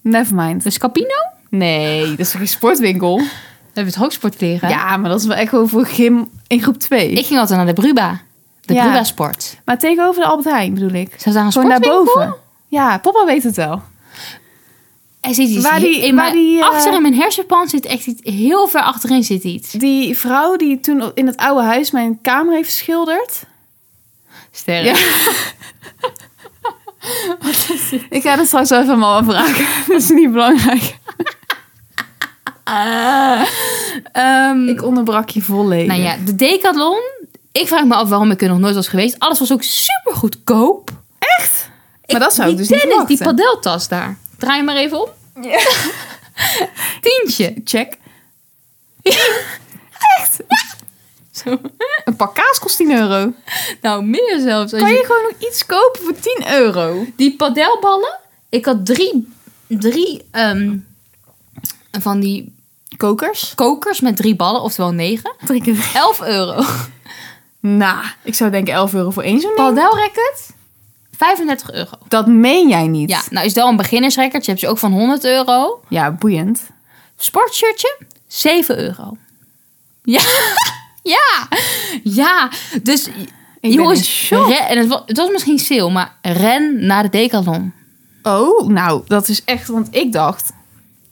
[SPEAKER 1] Nevermind.
[SPEAKER 2] De Scapino?
[SPEAKER 1] Nee, dat is toch geen sportwinkel?
[SPEAKER 2] We hebben het hoogsportleren.
[SPEAKER 1] Ja, maar dat is wel echt gewoon voor gym in groep 2.
[SPEAKER 2] Ik ging altijd naar de Bruba. De
[SPEAKER 1] Ja.
[SPEAKER 2] Bruba Sport.
[SPEAKER 1] Maar tegenover de Albert Heijn bedoel ik.
[SPEAKER 2] Zat daar een
[SPEAKER 1] Gewoon
[SPEAKER 2] sportwinkel?
[SPEAKER 1] daarboven. Ja, papa weet het wel.
[SPEAKER 2] Er zit iets
[SPEAKER 1] Waar die-
[SPEAKER 2] in
[SPEAKER 1] waar
[SPEAKER 2] mijn,
[SPEAKER 1] die, eh,
[SPEAKER 2] achter in mijn hersenpan zit echt iets... Heel ver achterin zit iets.
[SPEAKER 1] Die vrouw die toen in het oude huis mijn kamer heeft geschilderd.
[SPEAKER 2] Sterren.
[SPEAKER 1] Ja. Ik ga dat straks wel even aan mama vragen. dat is niet belangrijk.
[SPEAKER 2] Ehm,
[SPEAKER 1] Ik onderbrak je volledig.
[SPEAKER 2] nou ja, de Decathlon. Ik vraag me af waarom ik er nog nooit was geweest. Alles was ook super goedkoop.
[SPEAKER 1] Echt? Maar dat zou ik
[SPEAKER 2] die
[SPEAKER 1] dus niet
[SPEAKER 2] tennis,
[SPEAKER 1] verwachten.
[SPEAKER 2] Die padeltas daar. Draai hem maar even om. Tientje.
[SPEAKER 1] Check.
[SPEAKER 2] Zo.
[SPEAKER 1] Een pak kaas kost 10 euro.
[SPEAKER 2] Nou, meer zelfs. Als
[SPEAKER 1] Kan je gewoon nog iets kopen voor 10 euro?
[SPEAKER 2] Die padelballen. Ik had drie, drie ehm, van die
[SPEAKER 1] Kokers?
[SPEAKER 2] kokers met drie ballen, oftewel negen.
[SPEAKER 1] Drie keer.
[SPEAKER 2] 11 euro.
[SPEAKER 1] Nou, ik zou denken 11 euro voor één zo'n ding.
[SPEAKER 2] Padelracket? 35 euro.
[SPEAKER 1] Dat meen jij niet.
[SPEAKER 2] Ja, nou is dat een beginnersrekkertje. Heb je ook van 100 euro.
[SPEAKER 1] Ja, boeiend.
[SPEAKER 2] Sportshirtje? 7 euro. Ja. ja. Ja. Dus
[SPEAKER 1] ben in
[SPEAKER 2] jongens,
[SPEAKER 1] shock.
[SPEAKER 2] ren- en het, was, het was misschien sale, maar ren naar de Decathlon.
[SPEAKER 1] Oh, nou, dat is echt, want ik dacht...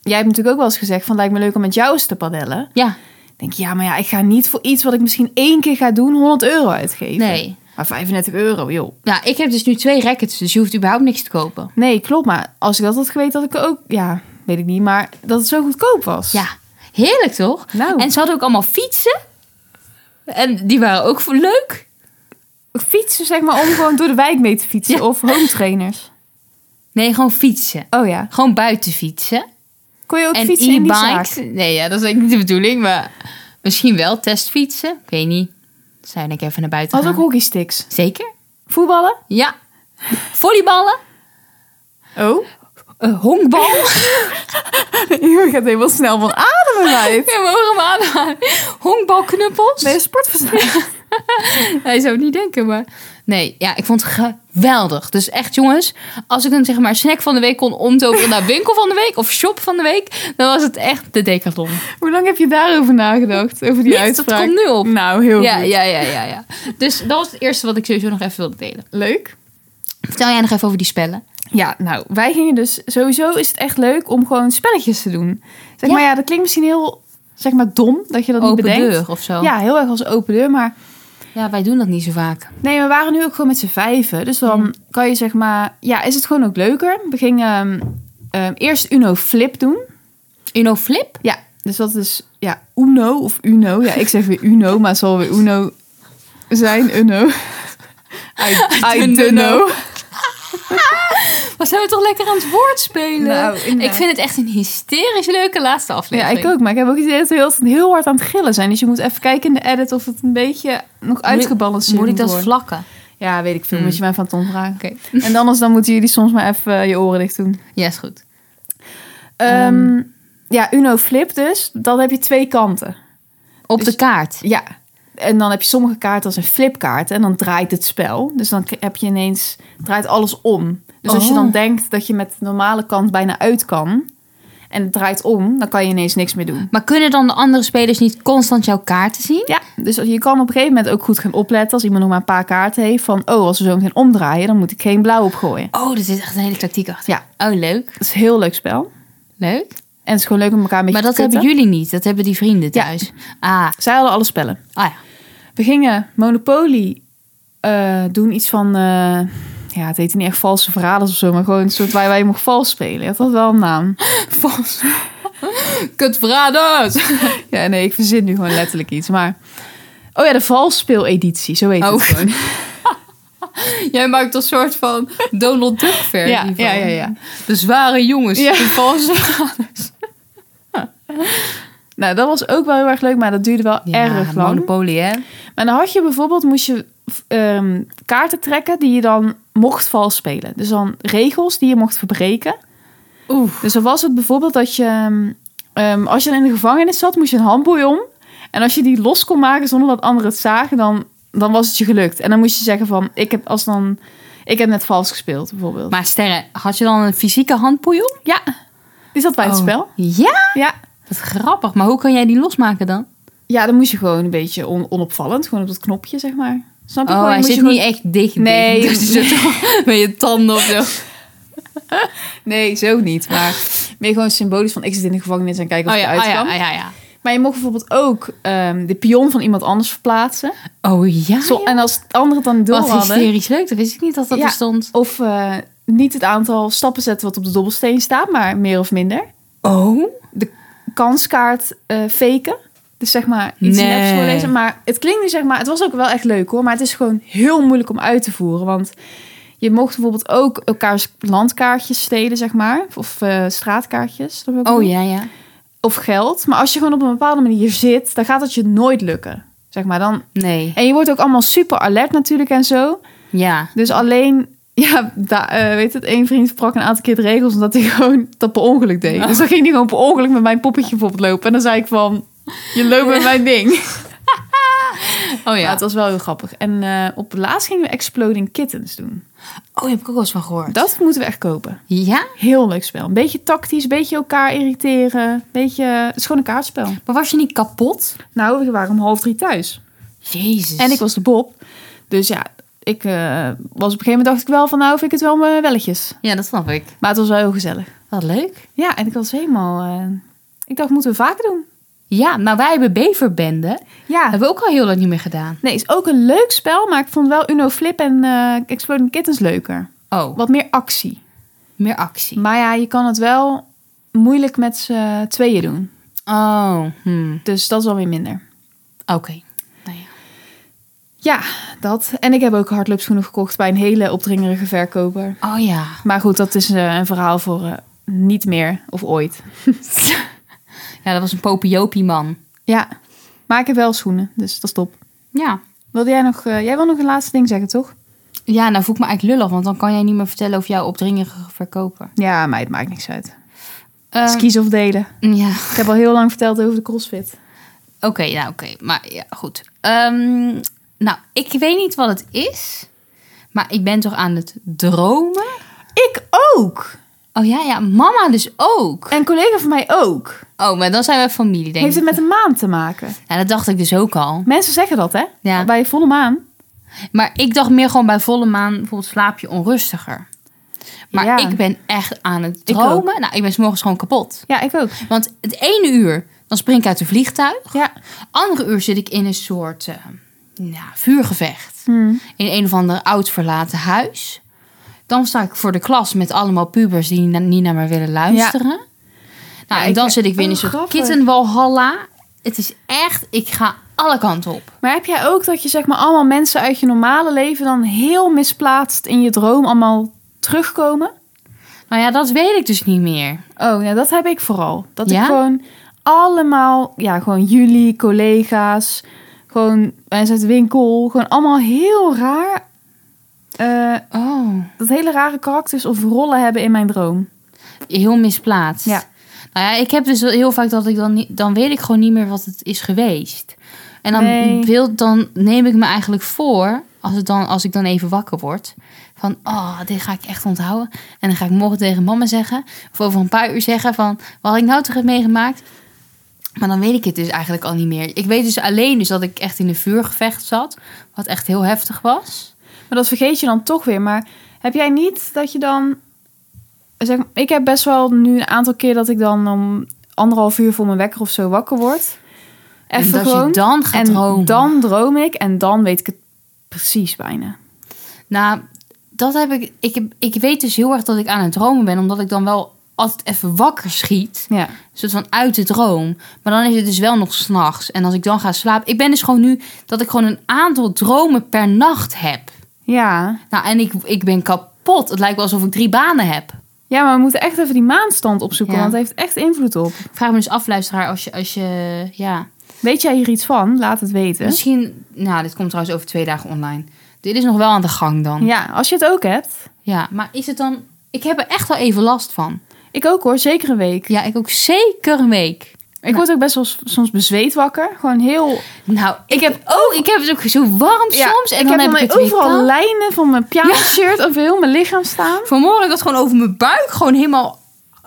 [SPEAKER 1] Jij hebt natuurlijk ook wel eens gezegd van lijkt me leuk om met jou eens te padellen.
[SPEAKER 2] Ja.
[SPEAKER 1] Ik denk, ja, maar ja, ik ga niet voor iets wat ik misschien één keer ga doen 100 euro uitgeven.
[SPEAKER 2] Nee.
[SPEAKER 1] Maar 35 euro, joh.
[SPEAKER 2] Nou, ik heb dus nu twee rackets, dus je hoeft überhaupt niks te kopen.
[SPEAKER 1] Nee, klopt, maar als ik dat had geweten, had ik ook... Ja, weet ik niet, maar dat het zo goedkoop was.
[SPEAKER 2] Ja. Heerlijk toch?
[SPEAKER 1] Nou.
[SPEAKER 2] En ze hadden ook allemaal fietsen. En die waren ook leuk.
[SPEAKER 1] Fietsen, zeg maar, om gewoon door de wijk mee te fietsen. Of home trainers.
[SPEAKER 2] Nee, gewoon fietsen.
[SPEAKER 1] Oh ja.
[SPEAKER 2] Gewoon buiten fietsen.
[SPEAKER 1] Kon je ook
[SPEAKER 2] en
[SPEAKER 1] fietsen in die zaak?
[SPEAKER 2] e-bikes. Nee, ja, dat is eigenlijk niet de bedoeling, maar misschien wel testfietsen. Ik weet niet. Zijn ik even naar buiten
[SPEAKER 1] Had
[SPEAKER 2] gaan.
[SPEAKER 1] ook hockeysticks.
[SPEAKER 2] Zeker?
[SPEAKER 1] Voetballen?
[SPEAKER 2] Ja. Volleyballen.
[SPEAKER 1] Oh.
[SPEAKER 2] eh, honkbal.
[SPEAKER 1] Je gaat helemaal snel van ademen uit.
[SPEAKER 2] Ja, maar hoor hem aan. Honkbalknuppels.
[SPEAKER 1] Ben je sportverslag?
[SPEAKER 2] Hij zou het niet denken, maar... Nee, ja, ik vond het geweldig. Dus echt, jongens, als ik een zeg maar, snack van de week kon omtoveren naar winkel van de week of shop van de week, dan was het echt de decathlon.
[SPEAKER 1] Hoe lang heb je daarover nagedacht? Over die
[SPEAKER 2] Niets, dat
[SPEAKER 1] uitspraak?
[SPEAKER 2] komt nu op.
[SPEAKER 1] Nou, heel
[SPEAKER 2] Ja,
[SPEAKER 1] goed.
[SPEAKER 2] ja, ja, ja, ja. Dus dat was het eerste wat ik sowieso nog even wilde delen.
[SPEAKER 1] Leuk.
[SPEAKER 2] Vertel jij nog even over die spellen.
[SPEAKER 1] Ja, nou, wij gingen dus... Sowieso is het echt leuk om gewoon spelletjes te doen. Zeg
[SPEAKER 2] Ja.
[SPEAKER 1] maar, ja, dat klinkt misschien heel... Zeg maar, dom dat je dat
[SPEAKER 2] Open
[SPEAKER 1] niet bedenkt.
[SPEAKER 2] deur of zo.
[SPEAKER 1] Ja, heel erg als open deur, maar...
[SPEAKER 2] Ja, wij doen dat niet zo vaak.
[SPEAKER 1] Nee, we waren nu ook gewoon met z'n vijven. Dus dan kan je zeg maar... Ja, is het gewoon ook leuker. We gingen ehm, ehm, eerst Uno Flip doen.
[SPEAKER 2] Uno Flip?
[SPEAKER 1] Ja, dus dat is ja, Uno of Uno. Ja, ik zeg weer Uno, maar het zal weer Uno zijn. Uno. I, I don't know.
[SPEAKER 2] Wat zijn we toch lekker aan het woord spelen?
[SPEAKER 1] Nou, inderdaad.
[SPEAKER 2] ik vind het echt een hysterisch leuke laatste
[SPEAKER 1] Ja,
[SPEAKER 2] aflevering.
[SPEAKER 1] ik ook. Maar ik heb ook het idee dat we heel, heel hard aan het gillen zijn. Dus je moet even kijken in de edit of het een beetje nog uitgebalanceerd
[SPEAKER 2] Moet ik dat
[SPEAKER 1] worden.
[SPEAKER 2] vlakken?
[SPEAKER 1] Ja, weet ik veel.
[SPEAKER 2] Hmm.
[SPEAKER 1] Moet je mij van Tom vragen.
[SPEAKER 2] Oké.
[SPEAKER 1] En anders dan moeten jullie soms maar even eh, je oren dicht doen.
[SPEAKER 2] Ja, is goed. Hmm.
[SPEAKER 1] Ehm, Ja, Uno Flip dus. Dan heb je twee kanten.
[SPEAKER 2] Op
[SPEAKER 1] Dus-
[SPEAKER 2] de kaart.
[SPEAKER 1] Ja. En dan heb je sommige kaarten als een flipkaart en dan draait het spel. Dus dan k- heb je ineens, draait alles om. Dus als je
[SPEAKER 2] Oh.
[SPEAKER 1] dan denkt dat je met de normale kant bijna uit kan en het draait om, dan kan je ineens niks meer doen.
[SPEAKER 2] Maar kunnen dan de andere spelers niet constant jouw kaarten zien?
[SPEAKER 1] Ja, dus je kan op een gegeven moment ook goed gaan opletten als iemand nog maar een paar kaarten heeft van, oh, als we zo meteen omdraaien, dan moet ik geen blauw opgooien.
[SPEAKER 2] Oh, er zit echt een hele tactiek achter. Ja. Oh, leuk.
[SPEAKER 1] Dat is een heel leuk spel.
[SPEAKER 2] Leuk.
[SPEAKER 1] En het is gewoon leuk om elkaar een beetje
[SPEAKER 2] Maar dat
[SPEAKER 1] te kutten.
[SPEAKER 2] hebben jullie niet. Dat hebben die vrienden
[SPEAKER 1] Ja.
[SPEAKER 2] thuis. Ah.
[SPEAKER 1] Zij hadden alle spellen.
[SPEAKER 2] ah ja.
[SPEAKER 1] We gingen Monopoly eh, doen iets van... eh, ja, het heette niet echt valse verraders of zo... maar gewoon een soort waar waar je mocht vals spelen. Dat had wel een naam.
[SPEAKER 2] Vals. Kutverraders.
[SPEAKER 1] Ja, nee, ik verzin nu gewoon letterlijk iets, maar... Oh ja, de valsspeeleditie, zo heet
[SPEAKER 2] Oh.
[SPEAKER 1] het gewoon.
[SPEAKER 2] Jij maakt een soort van Donald Duck versie
[SPEAKER 1] Ja, ja, ja, ja.
[SPEAKER 2] De zware jongens.
[SPEAKER 1] Ja.
[SPEAKER 2] dus De valse
[SPEAKER 1] Nou, dat was ook wel heel erg leuk, maar dat duurde wel erg lang.
[SPEAKER 2] Monopoly, hè?
[SPEAKER 1] Maar dan had je bijvoorbeeld, moest je f- ehm, kaarten trekken... die je dan mocht vals spelen. Dus dan regels die je mocht verbreken.
[SPEAKER 2] Oeh.
[SPEAKER 1] Dus dan was het bijvoorbeeld dat je... ehm, ehm, als je in de gevangenis zat, moest je een handboei om. En als je die los kon maken zonder dat anderen het zagen... dan, dan was het je gelukt. En dan moest je zeggen van... ik heb, als dan, ik heb net vals gespeeld, bijvoorbeeld.
[SPEAKER 2] Maar Sterre, had je dan een fysieke handpoei op?
[SPEAKER 1] ja, die zat bij het
[SPEAKER 2] Oh.
[SPEAKER 1] spel.
[SPEAKER 2] Ja?
[SPEAKER 1] Ja.
[SPEAKER 2] Dat is grappig. Maar hoe kan jij die losmaken dan?
[SPEAKER 1] ja, dan moest je gewoon een beetje on- onopvallend. Gewoon op dat knopje, zeg maar. Snap je?
[SPEAKER 2] Oh,
[SPEAKER 1] Gewoon,
[SPEAKER 2] hij
[SPEAKER 1] moest
[SPEAKER 2] zit
[SPEAKER 1] je gewoon-
[SPEAKER 2] niet echt dicht.
[SPEAKER 1] Nee,
[SPEAKER 2] dicht. Dus je
[SPEAKER 1] nee.
[SPEAKER 2] zit toch met je tanden of zo.
[SPEAKER 1] Nee, zo niet. Maar meer gewoon symbolisch van... ik zit in de gevangenis en kijk of
[SPEAKER 2] Oh
[SPEAKER 1] ik
[SPEAKER 2] ja,
[SPEAKER 1] eruit
[SPEAKER 2] oh ja,
[SPEAKER 1] kan.
[SPEAKER 2] oh ja, ja.
[SPEAKER 1] Maar je mocht bijvoorbeeld ook ehm, de pion van iemand anders verplaatsen.
[SPEAKER 2] Oh ja,
[SPEAKER 1] Zo,
[SPEAKER 2] joh.
[SPEAKER 1] en als het andere het dan door
[SPEAKER 2] Wat
[SPEAKER 1] hadden...
[SPEAKER 2] hysterisch leuk. Dat wist ik niet dat dat
[SPEAKER 1] Ja.
[SPEAKER 2] bestond.
[SPEAKER 1] Of eh, niet het aantal stappen zetten wat op de dobbelsteen staat, maar meer of minder.
[SPEAKER 2] Oh?
[SPEAKER 1] Kanskaart eh faken. Dus zeg maar iets
[SPEAKER 2] Nee.
[SPEAKER 1] neps voorlezen. Maar het klinkt nu zeg maar, het was ook wel echt leuk hoor. Maar het is gewoon heel moeilijk om uit te voeren. Want je mocht bijvoorbeeld ook elkaars landkaartjes stelen, zeg maar. Of eh, straatkaartjes. dat wil ik
[SPEAKER 2] Oh
[SPEAKER 1] noemen.
[SPEAKER 2] ja, ja.
[SPEAKER 1] Of geld. Maar als je gewoon op een bepaalde manier zit, dan gaat dat je nooit lukken. Zeg maar dan.
[SPEAKER 2] Nee.
[SPEAKER 1] En je wordt ook allemaal super alert natuurlijk en zo.
[SPEAKER 2] Ja.
[SPEAKER 1] Dus alleen Ja, da, eh, weet het, één vriend sprak een aantal keer de regels omdat hij gewoon dat per ongeluk deed. Dus dan ging hij gewoon per ongeluk met mijn poppetje bijvoorbeeld lopen. En dan zei ik van, je loopt met mijn ding.
[SPEAKER 2] Oh
[SPEAKER 1] Ja,
[SPEAKER 2] ja.
[SPEAKER 1] het was wel heel grappig. En eh, op het laatst gingen we Exploding Kittens doen.
[SPEAKER 2] Oh, heb ik ook wel eens van gehoord.
[SPEAKER 1] Dat moeten we echt kopen.
[SPEAKER 2] Ja?
[SPEAKER 1] Heel leuk spel. Een beetje tactisch, een beetje elkaar irriteren. Een beetje... Het is gewoon een kaartspel.
[SPEAKER 2] Maar was je niet kapot?
[SPEAKER 1] Nou, we waren om half drie thuis.
[SPEAKER 2] Jezus.
[SPEAKER 1] En ik was de Bob. Dus ja, ik eh, was op een gegeven moment dacht ik wel van nou vind ik het wel mijn welletjes.
[SPEAKER 2] Ja, dat snap ik.
[SPEAKER 1] Maar het was wel heel gezellig.
[SPEAKER 2] Wat leuk.
[SPEAKER 1] Ja, en ik was helemaal... eh, ik dacht, moeten we vaker doen?
[SPEAKER 2] Ja, nou wij hebben Beverbende.
[SPEAKER 1] Ja.
[SPEAKER 2] Hebben we ook al heel lang niet meer gedaan.
[SPEAKER 1] Nee, is ook een leuk spel, maar ik vond wel Uno Flip en eh, Exploding Kittens leuker.
[SPEAKER 2] Oh,
[SPEAKER 1] Wat meer actie.
[SPEAKER 2] meer actie.
[SPEAKER 1] Maar ja, je kan het wel moeilijk met z'n tweeën doen.
[SPEAKER 2] Oh, hmm.
[SPEAKER 1] Dus dat is alweer minder.
[SPEAKER 2] oké. Nou
[SPEAKER 1] Ja, dat. En ik heb ook hardloopschoenen gekocht bij een hele opdringerige verkoper.
[SPEAKER 2] Oh ja.
[SPEAKER 1] Maar goed, dat is eh, een verhaal voor eh, niet meer of ooit.
[SPEAKER 2] Ja, dat was een popiopie man.
[SPEAKER 1] Ja, maar ik heb wel schoenen, dus dat is top.
[SPEAKER 2] Ja.
[SPEAKER 1] Wilde jij nog... eh, jij wil nog een laatste ding zeggen, toch?
[SPEAKER 2] Ja, nou voel ik me eigenlijk lullig, want dan kan jij niet meer vertellen over jouw opdringerige verkoper.
[SPEAKER 1] Ja, mij het maakt niks uit.
[SPEAKER 2] Eh,
[SPEAKER 1] Dus kiezen of delen.
[SPEAKER 2] Ehm, ja,
[SPEAKER 1] Ik heb al heel lang verteld over de crossfit.
[SPEAKER 2] oké, nou oké. Maar ja, goed. Ehm, nou, ik weet niet wat het is, maar ik ben toch aan het dromen?
[SPEAKER 1] Ik ook!
[SPEAKER 2] Oh ja, ja, mama dus ook.
[SPEAKER 1] En een collega van mij ook.
[SPEAKER 2] Oh, maar dan zijn we familie, denk
[SPEAKER 1] Heeft
[SPEAKER 2] ik.
[SPEAKER 1] het met een maan te maken?
[SPEAKER 2] Ja, dat dacht ik dus ook al.
[SPEAKER 1] Mensen zeggen dat, hè?
[SPEAKER 2] Ja.
[SPEAKER 1] Bij volle maan.
[SPEAKER 2] Maar ik dacht meer gewoon bij volle maan, bijvoorbeeld slaap je onrustiger. Maar
[SPEAKER 1] Ja.
[SPEAKER 2] ik ben echt aan het
[SPEAKER 1] Ik
[SPEAKER 2] dromen. nou, ik ben 's morgens gewoon kapot.
[SPEAKER 1] Ja, ik ook.
[SPEAKER 2] Want het ene uur, dan spring ik uit een vliegtuig.
[SPEAKER 1] Ja.
[SPEAKER 2] Andere uur zit ik in een soort eh, ja, vuurgevecht.
[SPEAKER 1] Hmm.
[SPEAKER 2] In een of ander oud verlaten huis. Dan sta ik voor de klas met allemaal pubers die na- niet naar me willen luisteren. Nou,
[SPEAKER 1] Ja,
[SPEAKER 2] en dan
[SPEAKER 1] ik-
[SPEAKER 2] zit ik weer in
[SPEAKER 1] oh,
[SPEAKER 2] een soort
[SPEAKER 1] grappig.
[SPEAKER 2] kittenwalhalla. Het is echt, ik ga alle kanten op.
[SPEAKER 1] Maar heb jij ook dat je zeg maar allemaal mensen uit je normale leven dan heel misplaatst in je droom allemaal terugkomen?
[SPEAKER 2] Nou ja, dat weet ik dus niet meer.
[SPEAKER 1] Oh, ja, dat heb ik vooral. Dat
[SPEAKER 2] Ja?
[SPEAKER 1] ik gewoon allemaal, ja, gewoon jullie, collega's, gewoon mensen uit de winkel, gewoon allemaal heel raar, eh,
[SPEAKER 2] Oh.
[SPEAKER 1] dat hele rare karakters of rollen hebben in mijn droom.
[SPEAKER 2] Heel misplaatst.
[SPEAKER 1] Ja.
[SPEAKER 2] Nou ja, ik heb dus heel vaak dat ik dan niet, dan weet ik gewoon niet meer wat het is geweest. En dan,
[SPEAKER 1] Nee.
[SPEAKER 2] wil, dan neem ik me eigenlijk voor, als, het dan, als ik dan even wakker word, van oh, dit ga ik echt onthouden. En dan ga ik morgen tegen mama zeggen, of over een paar uur zeggen van wat ik nou toch heb meegemaakt. Maar dan weet ik het dus eigenlijk al niet meer. Ik weet dus alleen dus dat ik echt in een vuurgevecht zat, wat echt heel heftig was.
[SPEAKER 1] Maar dat vergeet je dan toch weer. Maar heb jij niet dat je dan. Zeg, ik heb best wel nu een aantal keer dat ik dan om anderhalf uur voor mijn wekker of zo wakker word. Even
[SPEAKER 2] en dat
[SPEAKER 1] gewoon.
[SPEAKER 2] je dan gaat
[SPEAKER 1] en
[SPEAKER 2] dromen.
[SPEAKER 1] dan droom ik en dan weet ik het precies bijna.
[SPEAKER 2] Nou, dat heb ik, ik. heb- Ik weet dus heel erg dat ik aan het dromen ben, omdat ik dan wel altijd even wakker schiet.
[SPEAKER 1] Ja.
[SPEAKER 2] Een soort van uit de droom. Maar dan is het dus wel nog s'nachts. En als ik dan ga slapen. Ik ben dus gewoon nu dat ik gewoon een aantal dromen per nacht heb.
[SPEAKER 1] Ja.
[SPEAKER 2] Nou, en ik, ik ben kapot. Het lijkt wel alsof ik drie banen heb.
[SPEAKER 1] Ja, maar we moeten echt even die maanstand opzoeken,
[SPEAKER 2] Ja.
[SPEAKER 1] want het heeft echt invloed op.
[SPEAKER 2] Ik vraag me dus af, luisteraar, als je. Als je ja.
[SPEAKER 1] Weet jij hier iets van? Laat het weten.
[SPEAKER 2] Misschien. Nou, dit komt trouwens over twee dagen online. Dit is nog wel aan de gang dan.
[SPEAKER 1] Ja, als je het ook hebt.
[SPEAKER 2] ja maar is het dan. Ik heb er echt wel even last van.
[SPEAKER 1] Ik ook hoor, zeker een week.
[SPEAKER 2] Ja, ik ook zeker een week.
[SPEAKER 1] Ik word ook best wel s- soms bezweet wakker. Gewoon heel
[SPEAKER 2] Nou, ik heb ook, ik heb het ook zo warm soms. En
[SPEAKER 1] ik
[SPEAKER 2] dan
[SPEAKER 1] heb,
[SPEAKER 2] heb
[SPEAKER 1] dan
[SPEAKER 2] ik het weer
[SPEAKER 1] overal
[SPEAKER 2] koud.
[SPEAKER 1] lijnen van mijn pyjama-shirt over heel mijn lichaam staan.
[SPEAKER 2] Vanmorgen had ik het gewoon over mijn buik, gewoon helemaal.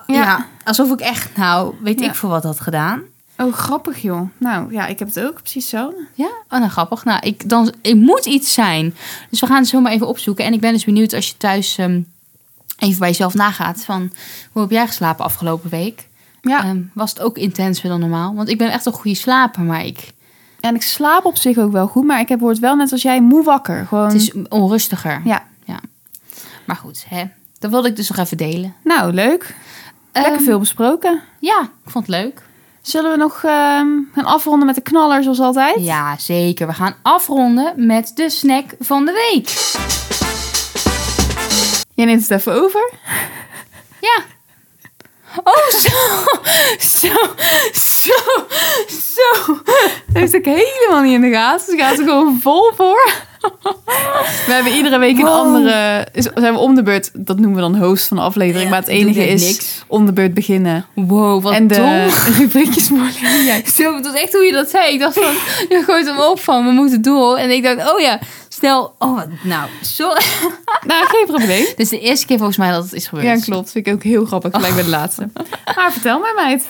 [SPEAKER 1] Ja.
[SPEAKER 2] Ja. alsof ik echt, nou, weet
[SPEAKER 1] Ja.
[SPEAKER 2] ik voor wat had gedaan.
[SPEAKER 1] Oh, grappig joh. Nou ja, ik heb het ook precies zo.
[SPEAKER 2] Ja, oh, nou grappig. Nou, ik, dan, er moet iets zijn. Dus we gaan het zo maar even opzoeken. En ik ben dus benieuwd als je thuis ehm, even bij jezelf nagaat van hoe heb jij geslapen afgelopen week?
[SPEAKER 1] Ja,
[SPEAKER 2] Ehm, was het ook intenser dan normaal? Want ik ben echt een goede slaper, maar ik,
[SPEAKER 1] en ik slaap op zich ook wel goed, maar ik heb, word wel net als jij moe wakker. Gewoon...
[SPEAKER 2] het is onrustiger.
[SPEAKER 1] Ja.
[SPEAKER 2] Maar goed, hè. Dat wilde ik dus nog even delen.
[SPEAKER 1] Nou, leuk. Lekker
[SPEAKER 2] Ehm,
[SPEAKER 1] veel besproken.
[SPEAKER 2] Ja, ik vond het leuk.
[SPEAKER 1] Zullen we nog ehm, gaan afronden met de knaller zoals altijd?
[SPEAKER 2] Ja, zeker. We gaan afronden met de snack van de week.
[SPEAKER 1] Jij neemt het even over.
[SPEAKER 2] Ja. Oh, zo. Zo. Zo. Zo.
[SPEAKER 1] Dat heeft ik helemaal niet in de gaten. Ze gaat er gewoon vol voor. We hebben iedere week een
[SPEAKER 2] Wow.
[SPEAKER 1] andere... Is, zijn we om de beurt, dat noemen we dan host van de aflevering. maar het
[SPEAKER 2] doet
[SPEAKER 1] enige
[SPEAKER 2] echt
[SPEAKER 1] is
[SPEAKER 2] niks.
[SPEAKER 1] om de beurt beginnen.
[SPEAKER 2] Wow, wat
[SPEAKER 1] en de
[SPEAKER 2] dom.
[SPEAKER 1] rubriekjes worden jij.
[SPEAKER 2] Zo, dat is echt hoe je dat zei. Ik dacht van, je gooit hem op van, we moeten door. En ik dacht, oh ja, snel. Oh, wat- nou, sorry.
[SPEAKER 1] Nou, geen probleem.
[SPEAKER 2] Dit is de eerste keer volgens mij dat het is gebeurd.
[SPEAKER 1] Ja, klopt. Vind ik ook heel grappig, gelijk bij de laatste. Maar vertel mij, meid.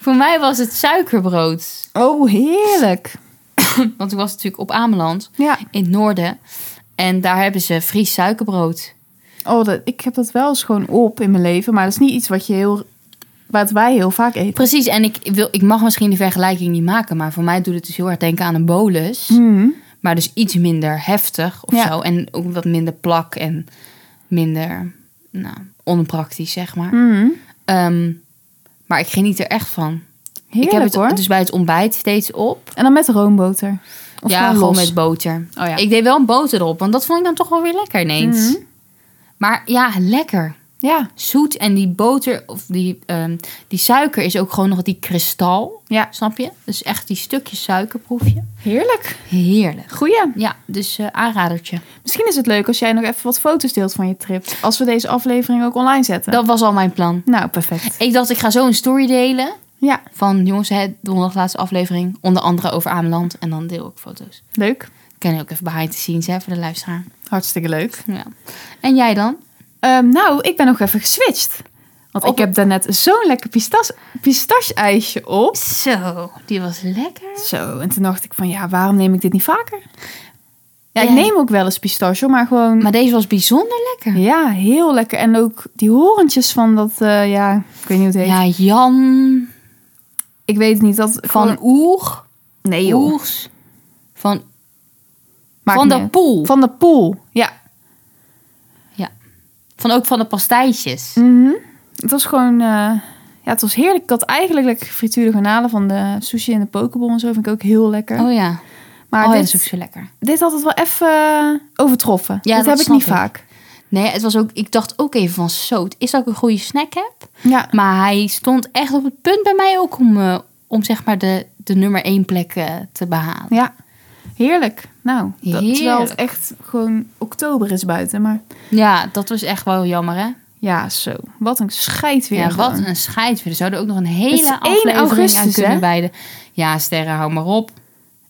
[SPEAKER 2] Voor mij was het suikerbrood.
[SPEAKER 1] Oh, heerlijk.
[SPEAKER 2] Want ik was natuurlijk op Ameland,
[SPEAKER 1] Ja.
[SPEAKER 2] in het noorden. En daar hebben ze Fries suikerbrood.
[SPEAKER 1] Oh, dat, ik heb dat wel eens gewoon op in mijn leven. Maar dat is niet iets wat je heel... Wat wij heel vaak eten.
[SPEAKER 2] Precies, en ik, wil, ik mag misschien de vergelijking niet maken, maar voor mij doet het dus heel erg denken aan een bolus.
[SPEAKER 1] Mhm.
[SPEAKER 2] Maar dus iets minder heftig of
[SPEAKER 1] Ja.
[SPEAKER 2] zo. En ook wat minder plak en minder nou, onpraktisch, zeg maar.
[SPEAKER 1] Mhm.
[SPEAKER 2] Ehm, maar ik geniet er echt van.
[SPEAKER 1] Heerlijk
[SPEAKER 2] ik heb het
[SPEAKER 1] hoor.
[SPEAKER 2] dus bij het ontbijt steeds op.
[SPEAKER 1] En dan met roomboter. Of
[SPEAKER 2] ja,
[SPEAKER 1] gewoon
[SPEAKER 2] gewoon
[SPEAKER 1] los?
[SPEAKER 2] met boter.
[SPEAKER 1] Oh ja.
[SPEAKER 2] Ik deed wel een boter erop, want dat vond ik dan toch wel weer lekker ineens.
[SPEAKER 1] Mhm.
[SPEAKER 2] Maar ja, lekker.
[SPEAKER 1] Ja.
[SPEAKER 2] Zoet en die boter, of die, ehm, die suiker is ook gewoon nog die kristal.
[SPEAKER 1] Ja.
[SPEAKER 2] Snap je? Dus echt die stukjes suikerproefje.
[SPEAKER 1] Heerlijk.
[SPEAKER 2] Heerlijk.
[SPEAKER 1] Goeie.
[SPEAKER 2] Ja, dus eh, aanradertje.
[SPEAKER 1] Misschien is het leuk als jij nog even wat foto's deelt van je trip. Als we deze aflevering ook online zetten.
[SPEAKER 2] Dat was al mijn plan.
[SPEAKER 1] Nou, perfect.
[SPEAKER 2] Ik dacht, ik ga zo een story delen.
[SPEAKER 1] Ja,
[SPEAKER 2] Van jongens, hè, donderdag laatste aflevering. Onder andere over Ameland. En dan deel ik foto's.
[SPEAKER 1] leuk.
[SPEAKER 2] Ik ken ook even behind the scenes hè, voor de luisteraar.
[SPEAKER 1] Hartstikke leuk.
[SPEAKER 2] Ja. En jij dan?
[SPEAKER 1] Ehm, nou, ik ben nog even geswitcht. Want
[SPEAKER 2] Op-
[SPEAKER 1] ik heb daarnet zo'n lekker pistas, pistache-ijsje op.
[SPEAKER 2] Zo, die was lekker.
[SPEAKER 1] Zo, en toen dacht ik van ja, waarom neem ik dit niet vaker? Ja, ik
[SPEAKER 2] Ja.
[SPEAKER 1] neem ook wel eens pistache, maar gewoon...
[SPEAKER 2] Maar deze was bijzonder lekker.
[SPEAKER 1] Ja, heel lekker. En ook die horentjes van dat, eh, ja, ik weet niet hoe het heet.
[SPEAKER 2] Ja, Jan
[SPEAKER 1] Ik weet het niet, dat
[SPEAKER 2] van
[SPEAKER 1] gewoon-
[SPEAKER 2] Oer.
[SPEAKER 1] Nee
[SPEAKER 2] Oers. Van,
[SPEAKER 1] Maakt
[SPEAKER 2] van
[SPEAKER 1] niet
[SPEAKER 2] de
[SPEAKER 1] uit.
[SPEAKER 2] Poel. Van,
[SPEAKER 1] Van de poel, ja.
[SPEAKER 2] ook van de pastijtjes.
[SPEAKER 1] Mhm. Het was gewoon... eh, ja, het was heerlijk. Ik had eigenlijk lekker frituurde garnalen van de sushi en de pokeball en zo. Vind ik ook heel lekker.
[SPEAKER 2] Oh ja.
[SPEAKER 1] maar
[SPEAKER 2] oh, ja,
[SPEAKER 1] dit,
[SPEAKER 2] dat is ook zo lekker.
[SPEAKER 1] dit had het wel even eh, overtroffen.
[SPEAKER 2] Ja,
[SPEAKER 1] dat, heb
[SPEAKER 2] dat
[SPEAKER 1] ik
[SPEAKER 2] snap
[SPEAKER 1] niet
[SPEAKER 2] ik.
[SPEAKER 1] vaak.
[SPEAKER 2] Nee, het was ook, ik dacht ook even van zo, het is dat ik een goede snack heb?
[SPEAKER 1] Ja.
[SPEAKER 2] Maar hij stond echt op het punt bij mij ook om, eh, om zeg maar de, de nummer één plek eh, te behalen.
[SPEAKER 1] ja. Heerlijk. Nou, dat, terwijl het
[SPEAKER 2] Heerlijk.
[SPEAKER 1] echt gewoon oktober is buiten. Maar
[SPEAKER 2] Ja, dat was echt wel jammer hè.
[SPEAKER 1] ja, zo. Wat een scheid weer.
[SPEAKER 2] ja, wat
[SPEAKER 1] gewoon.
[SPEAKER 2] een scheid. We zouden ook nog een
[SPEAKER 1] Het is
[SPEAKER 2] hele
[SPEAKER 1] 1
[SPEAKER 2] aflevering aan
[SPEAKER 1] augustus,
[SPEAKER 2] kunnen
[SPEAKER 1] hè?
[SPEAKER 2] wijden. Ja, sterren, hou maar op.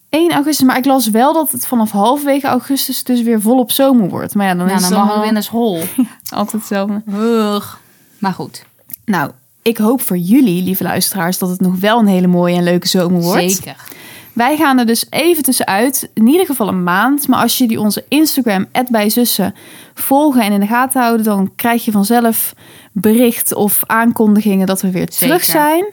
[SPEAKER 1] 1 augustus. Maar ik las wel dat het vanaf halverwege augustus dus weer volop zomer wordt. Maar ja, dan
[SPEAKER 2] nou,
[SPEAKER 1] is
[SPEAKER 2] dan
[SPEAKER 1] het
[SPEAKER 2] mag ik
[SPEAKER 1] allemaal
[SPEAKER 2] weer naar school.
[SPEAKER 1] altijd hetzelfde.
[SPEAKER 2] Ugh. Maar goed,
[SPEAKER 1] Nou, ik hoop voor jullie, lieve luisteraars, dat het nog wel een hele mooie en leuke zomer wordt.
[SPEAKER 2] zeker.
[SPEAKER 1] Wij gaan er dus even tussenuit. In ieder geval een maand. Maar als jullie onze Instagram, @bijzussen, volgen en in de gaten houden... dan krijg je vanzelf bericht of aankondigingen dat we weer terug
[SPEAKER 2] Zeker.
[SPEAKER 1] zijn.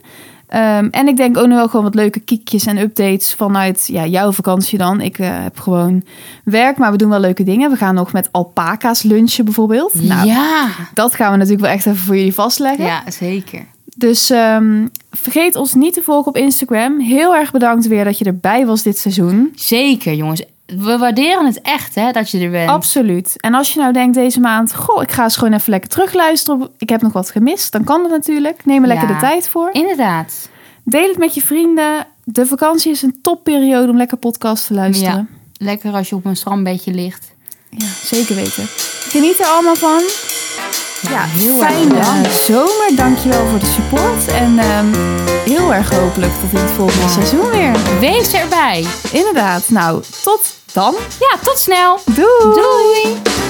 [SPEAKER 1] Ehm, en ik denk ook nog wel gewoon wat leuke kiekjes en updates vanuit ja, jouw vakantie dan. Ik eh, heb gewoon werk, maar we doen wel leuke dingen. We gaan nog met alpaca's lunchen bijvoorbeeld. Nou,
[SPEAKER 2] ja.
[SPEAKER 1] dat gaan we natuurlijk wel echt even voor jullie vastleggen.
[SPEAKER 2] ja, zeker.
[SPEAKER 1] Dus ehm, vergeet ons niet te volgen op Instagram. Heel erg bedankt weer dat je erbij was dit seizoen.
[SPEAKER 2] Zeker, jongens. We waarderen het echt, hè, dat je er bent.
[SPEAKER 1] Absoluut. En als je nou denkt deze maand, goh, ik ga eens gewoon even lekker terugluisteren. op- Ik heb nog wat gemist. Dan kan dat natuurlijk. Neem er lekker
[SPEAKER 2] Ja.
[SPEAKER 1] de tijd voor.
[SPEAKER 2] Inderdaad.
[SPEAKER 1] Deel het met je vrienden. De vakantie is een topperiode om lekker podcast te luisteren.
[SPEAKER 2] Lekker als je op een strandbedje ligt.
[SPEAKER 1] Ja. zeker weten. Geniet er allemaal van. Ja,
[SPEAKER 2] heel erg
[SPEAKER 1] fijne
[SPEAKER 2] bedankt.
[SPEAKER 1] zomer. Dankjewel voor de support. En ehm, heel erg hopelijk tot in het volgende seizoen weer.
[SPEAKER 2] Wees erbij.
[SPEAKER 1] Inderdaad. Nou, tot dan.
[SPEAKER 2] Ja, tot snel.
[SPEAKER 1] Doei!
[SPEAKER 2] Doei.